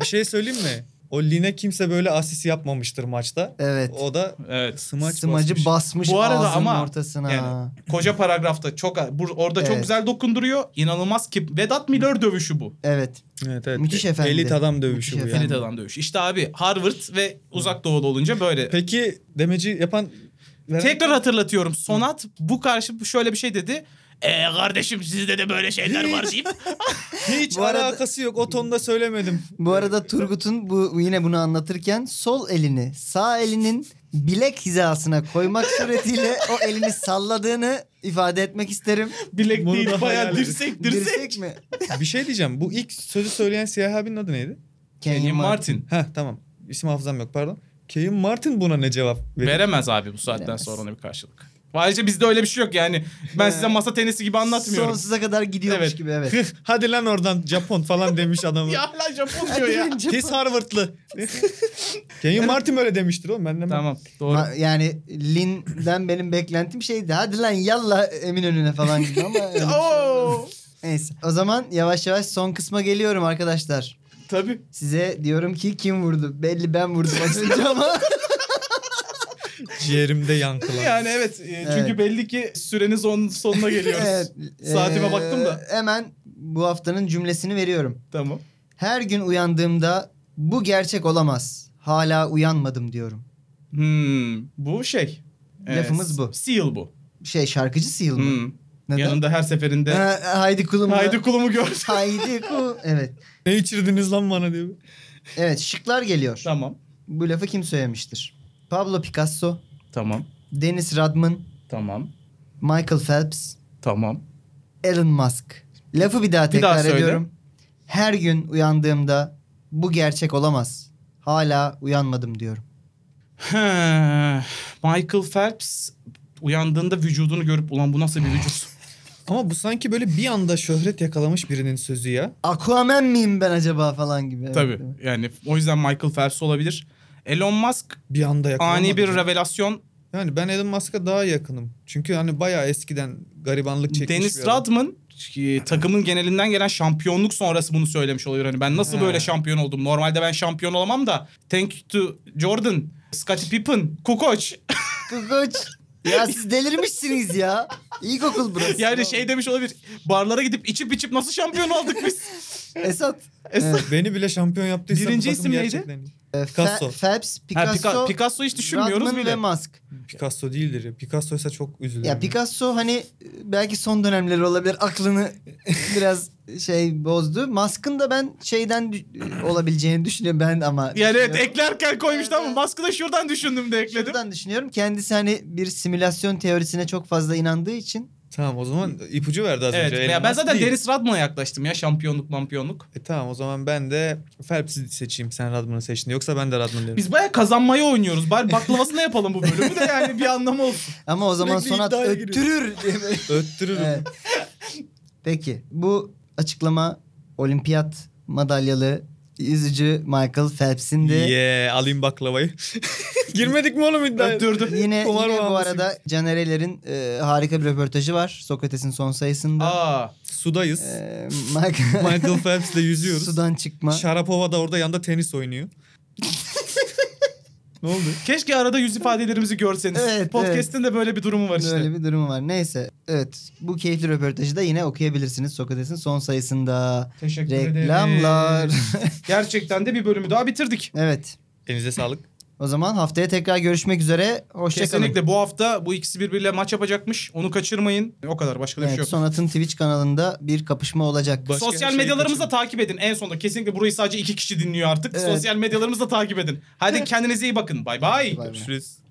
[SPEAKER 4] bir şey söyleyeyim mi? O Line kimse böyle asist yapmamıştır maçta.
[SPEAKER 2] Evet.
[SPEAKER 4] O da
[SPEAKER 5] Evet.
[SPEAKER 4] smaç
[SPEAKER 2] Smacı basmış,
[SPEAKER 4] basmış.
[SPEAKER 5] Bu arada
[SPEAKER 2] ağzının
[SPEAKER 5] ama
[SPEAKER 2] ortasına.
[SPEAKER 5] yani koca paragrafta çok bu, orada çok
[SPEAKER 2] Evet.
[SPEAKER 5] güzel dokunduruyor. İnanılmaz ki Vedat Milor dövüşü bu.
[SPEAKER 2] Evet.
[SPEAKER 4] evet, evet.
[SPEAKER 2] Müthiş efendi.
[SPEAKER 4] Elit adam
[SPEAKER 2] Müthiş
[SPEAKER 4] dövüşü bu
[SPEAKER 2] efendi.
[SPEAKER 4] yani.
[SPEAKER 5] Elit adam dövüş. İşte abi Harvard ve uzak doğulu olunca böyle.
[SPEAKER 4] Peki demeci yapan... veren-
[SPEAKER 5] Tekrar hatırlatıyorum. Sonat bu karşı şöyle bir şey dedi. E kardeşim sizde de böyle şeyler var deyip.
[SPEAKER 2] *laughs*
[SPEAKER 4] Hiç
[SPEAKER 2] Bu arada-
[SPEAKER 4] alakası yok. O tonda söylemedim.
[SPEAKER 2] Bu arada Turgut'un bu yine bunu anlatırken sol elini sağ elinin bilek hizasına koymak suretiyle o elini salladığını ifade etmek isterim.
[SPEAKER 5] *laughs* Bilek
[SPEAKER 4] Bunu
[SPEAKER 5] değil
[SPEAKER 4] da
[SPEAKER 5] bayağı
[SPEAKER 4] hayal edin.
[SPEAKER 5] dirsek dirsek.
[SPEAKER 2] mi?
[SPEAKER 4] bir şey diyeceğim. Bu ilk sözü söyleyen siyah abinin adı neydi?
[SPEAKER 5] Kenyon
[SPEAKER 2] Kenyon Martin.
[SPEAKER 5] Martin.
[SPEAKER 4] Heh tamam. İsim hafızam yok pardon. Kevin Martin buna ne cevap verir?
[SPEAKER 5] Veremez abi bu saatten
[SPEAKER 2] Veremez.
[SPEAKER 5] sonra ona bir karşılık. Ayrıca bizde öyle bir şey yok yani. Ben size masa tenisi gibi anlatmıyorum.
[SPEAKER 2] Sonsuza kadar gidiyormuş
[SPEAKER 5] Evet.
[SPEAKER 2] gibi evet.
[SPEAKER 4] *laughs* Hadi lan oradan Japon falan demiş
[SPEAKER 5] *laughs*
[SPEAKER 4] adamı.
[SPEAKER 5] Ya hala Japon diyor ya.
[SPEAKER 4] Pis Harvardlı. *laughs* Kenyon Martin öyle demiştir oğlum. Ben de
[SPEAKER 5] tamam doğru.
[SPEAKER 2] Ma- yani Lin'den benim beklentim şeydi. Hadi lan yalla emin önüne falan gibi
[SPEAKER 5] *laughs*
[SPEAKER 2] ama öyle bir şey olmadı.
[SPEAKER 5] Oo.
[SPEAKER 2] Neyse. O zaman yavaş yavaş son kısma geliyorum arkadaşlar.
[SPEAKER 5] Tabii.
[SPEAKER 2] Size diyorum ki kim vurdu? Belli ben vurdum az önce
[SPEAKER 5] *laughs*
[SPEAKER 2] ama. *laughs*
[SPEAKER 4] ciğerimde yankılan.
[SPEAKER 5] Yani evet. e, Çünkü
[SPEAKER 2] Evet.
[SPEAKER 5] belli ki sürenin son, sonuna geliyoruz.
[SPEAKER 2] Evet,
[SPEAKER 5] Saatime
[SPEAKER 2] eee,
[SPEAKER 5] baktım da.
[SPEAKER 2] Hemen bu haftanın cümlesini veriyorum.
[SPEAKER 5] Tamam.
[SPEAKER 2] Her gün uyandığımda bu gerçek olamaz. Hala uyanmadım diyorum.
[SPEAKER 5] Hmm, bu şey. e,
[SPEAKER 2] Lafımız bu.
[SPEAKER 5] Seal bu.
[SPEAKER 2] Şey şarkıcı Seal mı?
[SPEAKER 5] Hmm.
[SPEAKER 2] Neden?
[SPEAKER 5] Yanında her seferinde
[SPEAKER 2] Ha, haydi kulum.
[SPEAKER 5] haydi kulumu gördüm. *laughs*
[SPEAKER 2] Haydi kul. *laughs* Evet.
[SPEAKER 4] Ne içirdiniz lan bana diyor.
[SPEAKER 2] Evet şıklar geliyor.
[SPEAKER 5] tamam.
[SPEAKER 2] Bu lafı kim söylemiştir? Pablo Picasso,
[SPEAKER 5] Tamam.
[SPEAKER 2] Dennis Rodman,
[SPEAKER 5] Tamam.
[SPEAKER 2] Michael Phelps,
[SPEAKER 5] Tamam.
[SPEAKER 2] Elon Musk. Lafı bir daha tekrar
[SPEAKER 5] daha söyle.
[SPEAKER 2] ediyorum. Her gün uyandığımda bu gerçek olamaz. Hala uyanmadım diyorum.
[SPEAKER 5] He, Michael Phelps uyandığında vücudunu görüp ulan bu nasıl bir vücut
[SPEAKER 4] Ama bu sanki böyle bir anda şöhret yakalamış birinin sözü ya.
[SPEAKER 2] Aquaman miyim ben acaba falan gibi. *laughs* Evet,
[SPEAKER 5] Tabii
[SPEAKER 2] evet.
[SPEAKER 5] yani o yüzden Michael Phelps olabilir. Elon Musk
[SPEAKER 4] Bir anda yakalamadı.
[SPEAKER 5] ani bir
[SPEAKER 4] ya.
[SPEAKER 5] revelasyon.
[SPEAKER 4] Yani ben Elon Musk'a daha yakınım. Çünkü hani bayağı eskiden garibanlık çekmiş bir
[SPEAKER 5] Dennis
[SPEAKER 4] adam.
[SPEAKER 5] Rodman e, takımın genelinden gelen şampiyonluk sonrası bunu söylemiş oluyor. Hani ben nasıl
[SPEAKER 4] Ha.
[SPEAKER 5] böyle şampiyon oldum? Normalde ben şampiyon olamam da thank to Jordan, Scottie Pippen, Kukoc.
[SPEAKER 2] Kukuç. Ya siz delirmişsiniz ya. İlkokul burası.
[SPEAKER 5] *laughs* Yani şey demiş olabilir. Barlara gidip içip içip nasıl şampiyon olduk biz?
[SPEAKER 2] Esat.
[SPEAKER 4] *laughs* Beni bile şampiyon yaptıysa bu
[SPEAKER 5] Birinci
[SPEAKER 4] takım
[SPEAKER 5] isim neydi?
[SPEAKER 4] gerçekten iyi.
[SPEAKER 2] e, Fe-
[SPEAKER 4] Picasso.
[SPEAKER 2] Phelps,
[SPEAKER 5] Ha,
[SPEAKER 2] Picasso,
[SPEAKER 5] Pica- Picasso, hiç düşünmüyoruz
[SPEAKER 2] Rodman
[SPEAKER 5] bile.
[SPEAKER 2] ve Musk.
[SPEAKER 4] Picasso değildir ya. Picasso'ysa çok üzülürüm.
[SPEAKER 5] Hmm.
[SPEAKER 2] Ya Picasso hani e, belki son dönemleri olabilir. Aklını *laughs* biraz şey bozdu. Musk'ın da ben şeyden dü- e, olabileceğini düşünüyorum ben ama.
[SPEAKER 5] Yani evet
[SPEAKER 2] düşünüyorum.
[SPEAKER 5] eklerken koymuştu ama baskı da şuradan düşündüm de ekledim.
[SPEAKER 2] Şuradan düşünüyorum. Kendisi hani bir simülasyon teorisine çok fazla inandığı için
[SPEAKER 4] Tamam o zaman ipucu verdi az
[SPEAKER 5] Evet.
[SPEAKER 4] önce.
[SPEAKER 5] Ya
[SPEAKER 4] Elon
[SPEAKER 5] ben
[SPEAKER 4] Musk
[SPEAKER 5] zaten
[SPEAKER 4] değil.
[SPEAKER 5] Dennis Rodman'a yaklaştım ya şampiyonluk mampiyonluk.
[SPEAKER 4] E tamam o zaman ben de Phelps'i seçeyim. Sen Radman'ı seçtin. Yoksa ben de Radman'ı derim.
[SPEAKER 5] Biz baya kazanmayı oynuyoruz. Bari baklavasını yapalım bu bölümü de yani bir anlamı olsun.
[SPEAKER 2] ama o zaman
[SPEAKER 4] Sürekli
[SPEAKER 2] sonat
[SPEAKER 4] iddiaya giriyor.
[SPEAKER 5] *laughs*
[SPEAKER 2] öttürür. diye-
[SPEAKER 4] Öttürürüm.
[SPEAKER 2] Evet. Peki bu açıklama olimpiyat madalyalı yüzücü Michael Phelps'in de
[SPEAKER 4] Yeah alayım baklavayı. *laughs* Girmedik mi oğlum iddiaya?
[SPEAKER 5] Öttürdüm.
[SPEAKER 2] yine,
[SPEAKER 4] Kumar
[SPEAKER 2] yine bu
[SPEAKER 4] bağımlısı.
[SPEAKER 2] arada Canereyler'in e, harika bir röportajı var Sokrates'in son sayısında.
[SPEAKER 5] Aa,
[SPEAKER 4] Sudayız.
[SPEAKER 2] E, Michael, *laughs*
[SPEAKER 4] Michael Phelps'le yüzüyoruz.
[SPEAKER 2] sudan çıkma.
[SPEAKER 4] Şarapova da orada yanında tenis oynuyor. ne oldu?
[SPEAKER 5] keşke arada yüz ifadelerimizi görseniz.
[SPEAKER 2] Evet,
[SPEAKER 5] Podcast'in de böyle bir durumu var işte.
[SPEAKER 2] Böyle bir durum var. Neyse. Evet. Bu keyifli röportajı da yine okuyabilirsiniz Sokrates'in son sayısında.
[SPEAKER 5] Teşekkür ederim.
[SPEAKER 2] Reklamlar.
[SPEAKER 5] *laughs* Gerçekten de bir bölümü daha bitirdik.
[SPEAKER 2] evet.
[SPEAKER 4] Elinize sağlık.
[SPEAKER 2] O zaman haftaya tekrar görüşmek üzere. Hoşçakalın.
[SPEAKER 5] Kesinlikle bu hafta bu ikisi birbiriyle maç yapacakmış. Onu kaçırmayın. O kadar başka da bir şey
[SPEAKER 2] Evet,
[SPEAKER 5] yok.
[SPEAKER 2] Sonat'ın Twitch kanalında bir kapışma olacak.
[SPEAKER 4] Başka
[SPEAKER 5] Sosyal
[SPEAKER 4] şey
[SPEAKER 5] medyalarımızı da
[SPEAKER 4] kaçırmayın.
[SPEAKER 5] takip edin. En sonunda kesinlikle burayı sadece iki kişi dinliyor artık.
[SPEAKER 2] Evet.
[SPEAKER 5] Sosyal medyalarımızı da takip edin. Hadi kendinize iyi bakın. Bay bay.
[SPEAKER 2] Bay bay.
[SPEAKER 4] Görüşürüz.